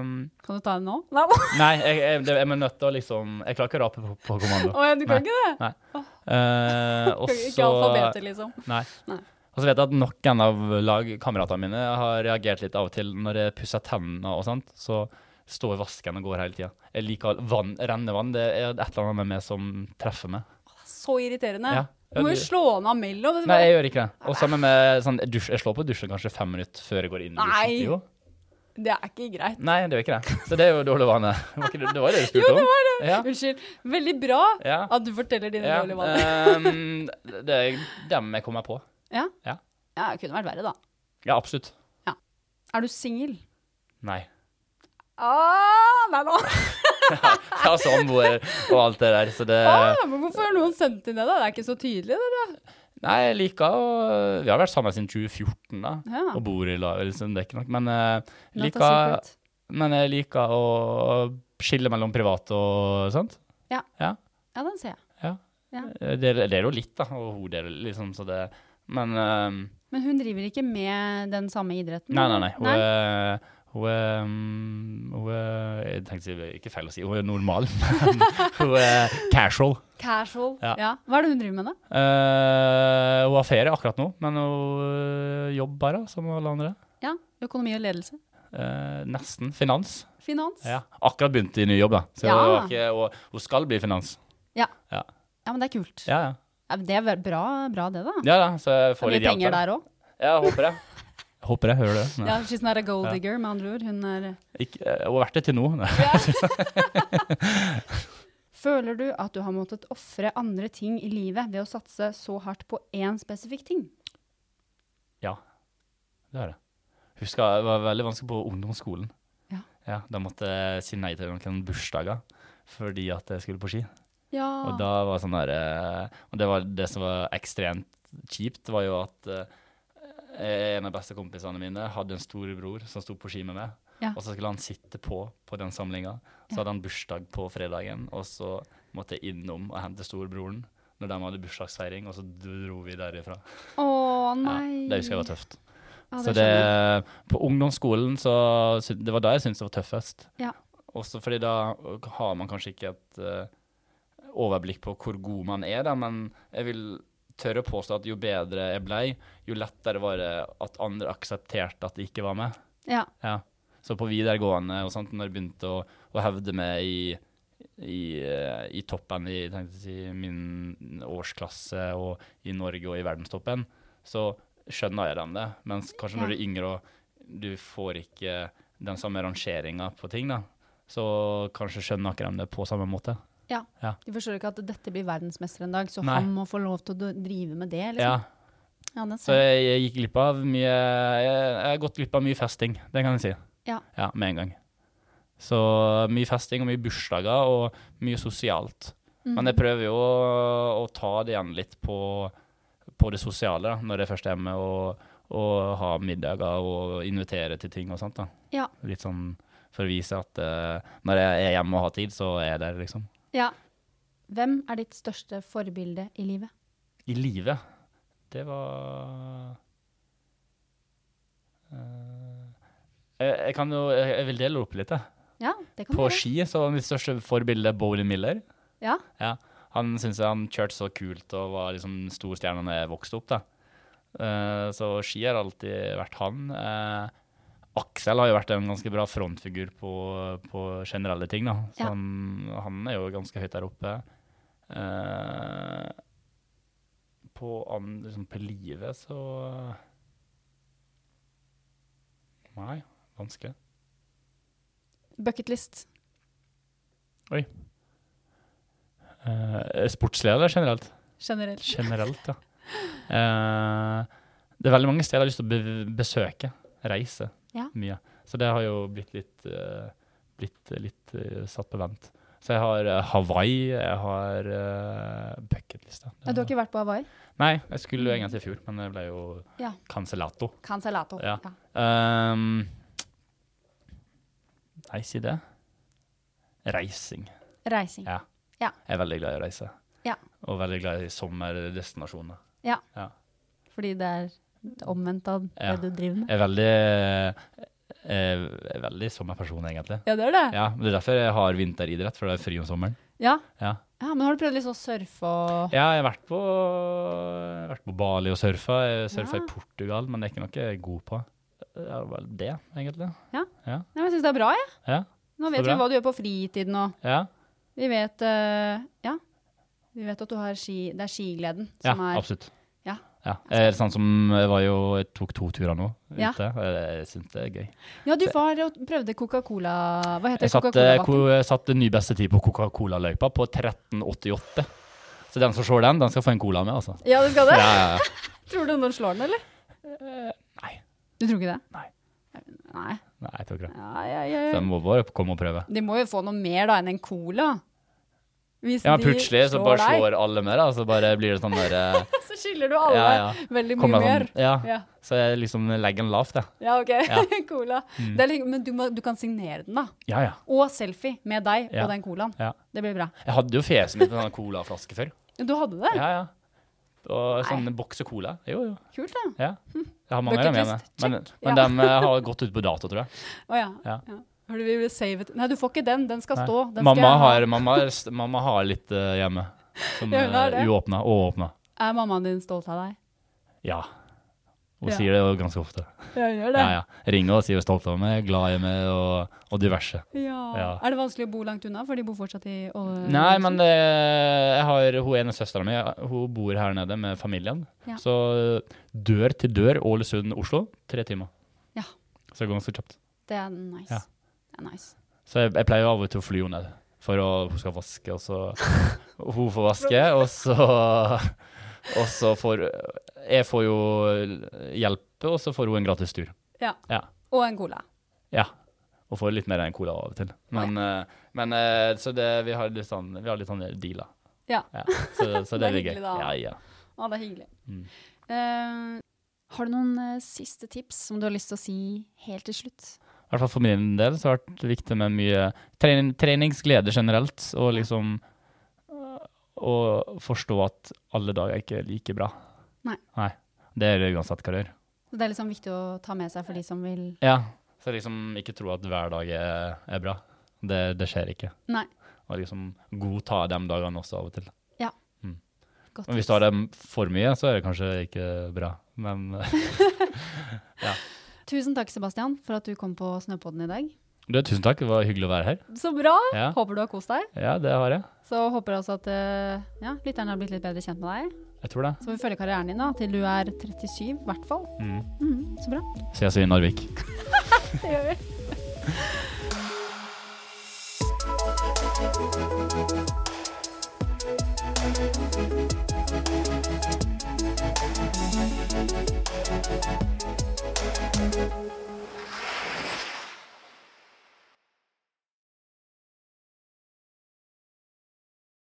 D: Um,
C: Kan du ta den nå? Nei, å
D: nei, jeg, jeg, det- jeg er nødt til å liksom Jeg klarer ikke å rape på, på kommando.
C: ja, du kan
D: Nei.
C: ikke det?
D: Nei. Eh, og
C: Kan Ikke
D: så
C: alfabetet, liksom.
D: Nei.
C: Nei.
D: Og så vet jeg at noen av lagkameratene mine har reagert litt av og til når jeg pusser tennene og sånt, så står vasken og går hele tida. Jeg liker all- vann, rennevann. Det er et eller annet med meg som treffer meg.
C: Så irriterende.
D: Ja.
C: Du må jo slå den av mellom.
D: Nei, jeg gjør ikke det. Og sammen med sånn dusj, Jeg slår på dusjen kanskje fem minutter før jeg går inn i
C: Nei.
D: dusjen. Jo.
C: Det er ikke greit.
D: Nei, det gjør ikke det. Så det er jo dårlig vane. Det var ikke det- det var jo det du spurte
C: Jo,
D: om.
C: det var det.
D: Ja.
C: Unnskyld. Veldig bra
D: Ja.
C: at du forteller dine
D: Ja,
C: dårlige vaner.
D: ehm, det er dem jeg kommer på.
C: Ja.
D: Ja.
C: ja, det kunne vært verre, da.
D: Ja, absolutt.
C: Er du singel?
D: Nei.
C: Ah, nei da.
D: Jeg har samboer Altså, og alt det der, så det
C: Ah, men hvorfor har noen sendt inn det, da? Det er ikke så tydelig, det. da.
D: Nei, jeg liker å Vi har vært sammen siden 2014, da.
C: Ja.
D: Og bor i lag, liksom. Det er ikke nok. Men, eh,
C: La det ta
D: liker,
C: secret.
D: men jeg liker å skille mellom privat og sånt.
C: Ja.
D: ja.
C: Ja, den ser jeg.
D: ja.
C: Ja.
D: Jeg deler, jeg deler jo litt, da. Og hun deler liksom, så det Men eh,
C: Men hun driver ikke med den samme idretten?
D: Nei, nei, nei. Hun
C: Nei?
D: er hun er, mm, hun er Jeg tenkte å si det er ikke feil å si, hun er normal. hun er casual.
C: Casual. Ja.
D: Ja.
C: Hva er det hun driver med, da?
D: Eh, hun har ferie akkurat nå, men hun eh, jobber da, som alle andre.
C: Ja, Økonomi og ledelse.
D: Eh, nesten. Finans.
C: Finans.
D: Ja. Akkurat begynt i ny jobb, da. Så
C: Ja.
D: hun, har ikke, hun, hun skal bli finans.
C: Ja.
D: Ja.
C: Ja, men det er kult.
D: Ja, ja.
C: Ja, men Det er vel bra, bra det, da.
D: ja da, så jeg
C: Det er
D: får
C: mye
D: litt hjelp
C: penger
D: der.
C: der òg.
D: Ja, jeg håper det. Jeg Håper jeg hører det. Nei.
C: Ja, she's not a gold digger, med andre ord. Hun er
D: Ikke, eh, hun har vært det til nå. Nei.
C: Føler du at du har måttet ofre andre ting i livet ved å satse så hardt på én spesifikk ting?
D: Ja, det har jeg. Husker det var veldig vanskelig på ungdomsskolen.
C: Ja.
D: Da måtte jeg si nei til noen bursdager fordi at jeg skulle på ski.
C: Ja.
D: Og da var det sånn der, eh, og det, var det som var ekstremt kjipt, var jo at eh, en av beste kompisene mine hadde en storebror som sto på ski med meg.
C: Ja.
D: Og så skulle han sitte på på den samlinga. Så hadde han bursdag på fredagen, og så måtte jeg innom og hente storebroren når de hadde bursdagsfeiring, og så dro vi derifra.
C: Å
D: Ja,
C: nei.
D: det husker jeg var tøft.
C: Ja,
D: Så
C: skjønner jeg.
D: det, på ungdomsskolen så syn- Det var da jeg syntes det var tøffest.
C: Ja.
D: Også fordi da har man kanskje ikke et eh, overblikk på hvor god man er, da, men jeg vil tørre å påstå at jo bedre jeg blei, jo lettere var det at andre aksepterte at de ikke var med.
C: ja.
D: Ja. Så på videregående og sånt, når jeg begynte å, å hevde meg i, i, eh, i toppen i tenkte jeg å si, min årsklasse og i Norge og i verdenstoppen, så skjønner jeg dem det. Mens kanskje når du er yngre og du får ikke den samme rangeringa på ting, da, så kanskje skjønner ikke de det på samme måte.
C: ja.
D: Ja.
C: De forstår ikke at dette blir verdensmester en dag, så
D: Nei.
C: han må få lov til å d- drive med det,
D: Ja,
C: liksom. Ja, den
D: så
C: ser jeg.
D: jeg, jeg gikk glipp av mye jeg, jeg har gått glipp av mye festing, det kan jeg si.
C: Ja.
D: Ja, med en gang. Så mye festing og mye bursdager og mye sosialt. Men jeg prøver jo å, å ta det igjen litt på, på det sosiale da, når jeg først er hjemme og, og ha middager og invitere til ting og sånt. da.
C: Ja.
D: Litt sånn for å vise at eh, når jeg er hjemme og har tid, så er jeg der, liksom.
C: ja. Hvem er ditt største forbilde i livet?
D: I live. Det var Eh, jeg, jeg kan jo Jeg, jeg vil dele opp litt, jeg.
C: Ja, det kan du
D: På
C: gjøre.
D: ski så var mitt største forbilde Bowley Miller.
C: Ja,
D: Ja. Han syntes han kjørte så kult og var liksom stor stjerne da jeg vokste opp. da. Eh, så ski har alltid vært han. Eh, Aksel har jo vært en ganske bra frontfigur på, på generelle ting. da. Så
C: Ja.
D: han, han er jo ganske høyt der oppe. Eh, på, an, liksom på livet så Nei, vanskelig.
C: bucketlist.
D: Eh, sportsleder generelt?
C: Generelt.
D: generelt, ja. Eh, det er veldig mange steder jeg har lyst til å be besøke, reise
C: Ja.
D: mye. Så det har jo blitt litt, eh, blitt eh, litt eh, satt på vent. Så jeg har eh, Hawaii, jeg har uh, bucketlista.
C: Ja, du har ikke vært på Hawaii?
D: Nei, jeg skulle jo egentlig i fjor, men det ble jo
C: Ja.
D: cancellato.
C: Cancelato.
D: Ja. Ehm, nei, si det. Reising.
C: Reising.
D: Ja.
C: Ja.
D: Jeg er veldig glad i å reise.
C: Ja.
D: Og veldig glad i sommerdestinasjoner.
C: Fordi det er omvendt av det
D: Ja.
C: du driver med.
D: Jeg er veldig, eh, er veldig sommerperson, egentlig.
C: Ja, det er det. Ja.
D: Ja, men Det er derfor jeg har vinteridrett, for det er fri om sommeren.
C: ja.
D: Ja.
C: Men har du prøvd liksom å surfe og
D: Ja, jeg har vært på, jeg har vært på Bali og surfa. Jeg surfa
C: Ja.
D: i Portugal, men det er ikke noe jeg er god på. Det er vel det, egentlig.
C: Nei, men Jeg syns det er bra, jeg.
D: Ja.
C: Nå
D: Så
C: vet vi
D: bra.
C: hva du gjør på fritiden og
D: ja.
C: Vi vet eh, Ja. Vi vet at du har ski Det er skigleden
D: Ja,
C: som er
D: absolutt.
C: Ja.
D: Eh, sånn som jeg var jo Jeg tok to turer nå ute.
C: Ja.
D: Jeg syns det er gøy.
C: Ja, du var og prøvde Coca-Cola Hva
D: Jeg
C: heter det?
D: satte
C: Coca-Cola-vann?
D: ko- jeg satte ny beste tid på Coca-Cola-løypa på 13,88. Så den som ser den, den skal få en cola med, altså.
C: Ja, du skal det?
D: Ja, ja, ja.
C: Tror du noen slår den, eller?
D: nei.
C: Du tror ikke det?
D: Nei.
C: Nei.
D: Nei, jeg tror ikke det.
C: Ja, ja, ja,
D: Så
C: ja.
D: jeg må bare komme og prøve.
C: De må jo få noe mer da enn en cola. Hvis
D: Ja, men
C: de
D: plutselig så bare
C: deg,
D: slår alle med, da. Så bare blir det sånn der eh,
C: Så skylder du alle
D: Ja, ja.
C: veldig mye
D: kommer
C: mer.
D: jeg sånn, ja.
C: Ja.
D: Så jeg liksom legger den lavt, jeg.
C: ja, OK.
D: Ja. Mm.
C: cola. Det er litt- men du, må, du kan signere den, da.
D: Ja, ja.
C: Og selfie med deg
D: Ja.
C: og den colaen.
D: Ja.
C: Det blir bra.
D: Jeg hadde jo fjeset mitt på en sånn colaflaske før.
C: Du hadde det?
D: Ja, ja. Og sånn bokse cola. Jo, jo.
C: Kult, da.
D: Ja. Jeg har mange av dem hjemme.
C: Bucketlist,
D: Men,
C: Hm. check.
D: men
C: Ja.
D: dem eh, har gått ut på dato, tror jeg.
C: Å ja. ja.
D: Ja.
C: Har du vil save it? Nei, du får ikke den. Den skal
D: Nei.
C: stå. Den skal
D: Mamma
C: jeg ha.
D: har, mamma, er st- mamma har litt eh, hjemme. Som
C: Ja, hun har
D: er
C: det.
D: uåpna og åpna.
C: Er mammaen din stolt av deg?
D: Ja. Hun
C: Ja.
D: sier det jo ganske ofte.
C: Ja, hun gjør
D: Ja, ja. Ringer og sier hun er stolt over meg, glad i meg og, og diverse.
C: Ja.
D: Ja.
C: Er det vanskelig å bo langt unna, for de bor fortsatt i Ål-
D: Nei, men det, jeg har hun ene søstera mi, hun bor her nede med familien.
C: Ja.
D: Så eh, dør til dør Ålesund-Oslo, tre timer.
C: Ja.
D: Så det går ganske kjapt.
C: Det er nice.
D: Ja.
C: Det er nice.
D: Så jeg, jeg pleier jo av og til å fly henne ned, for å, hun skal vaske, og så Hun får vaske, og så Og så får Jeg får jo hjelpe, og så får hun en gratis tur.
C: Ja.
D: Ja.
C: Og en cola.
D: Ja. Og får litt mer enn cola av og til. Men, eh, men eh, så det, vi har litt sånn, vi har litt sånn dealer.
C: Ja.
D: Ja. Så, så det,
C: Det
D: blir
C: er hyggelig
D: gøy.
C: da.
D: Ja, ja.
C: Å, det er hyggelig.
D: Mm.
C: Eh,
A: Har du noen eh, siste tips som du har lyst til å si helt til slutt?
D: I hvert fall for min del så har det vært viktig med mye trening, treningsglede generelt, og liksom øh, å forstå at alle dager er ikke like bra.
C: Nei.
D: Det er det uansett hva du gjør.
C: så det er liksom viktig å ta med seg for de som vil
D: Ja, så liksom ikke tro at hver dag er, er bra. Det, det skjer ikke.
C: Nei.
D: Og liksom godta de dagene også av og til.
C: Godt
D: Men hvis
C: tips.
D: du har dem for mye, så er det kanskje ikke bra. Men
C: Tusen takk, Sebastian, for at du kom på Snøpodden i dag.
D: du, tusen takk, det var hyggelig å være her.
C: Så bra!
D: Ja.
C: Håper du har kost deg.
D: Ja, det har jeg.
C: Så håper jeg også at eh, ja, lytterne har blitt litt bedre kjent med deg.
D: Jeg tror det.
C: Så får vi følge karrieren din da, til du er 37, i hvert fall.
D: Mm.
C: Mm, så bra.
D: Ses vi i Narvik.
C: Det gjør vi.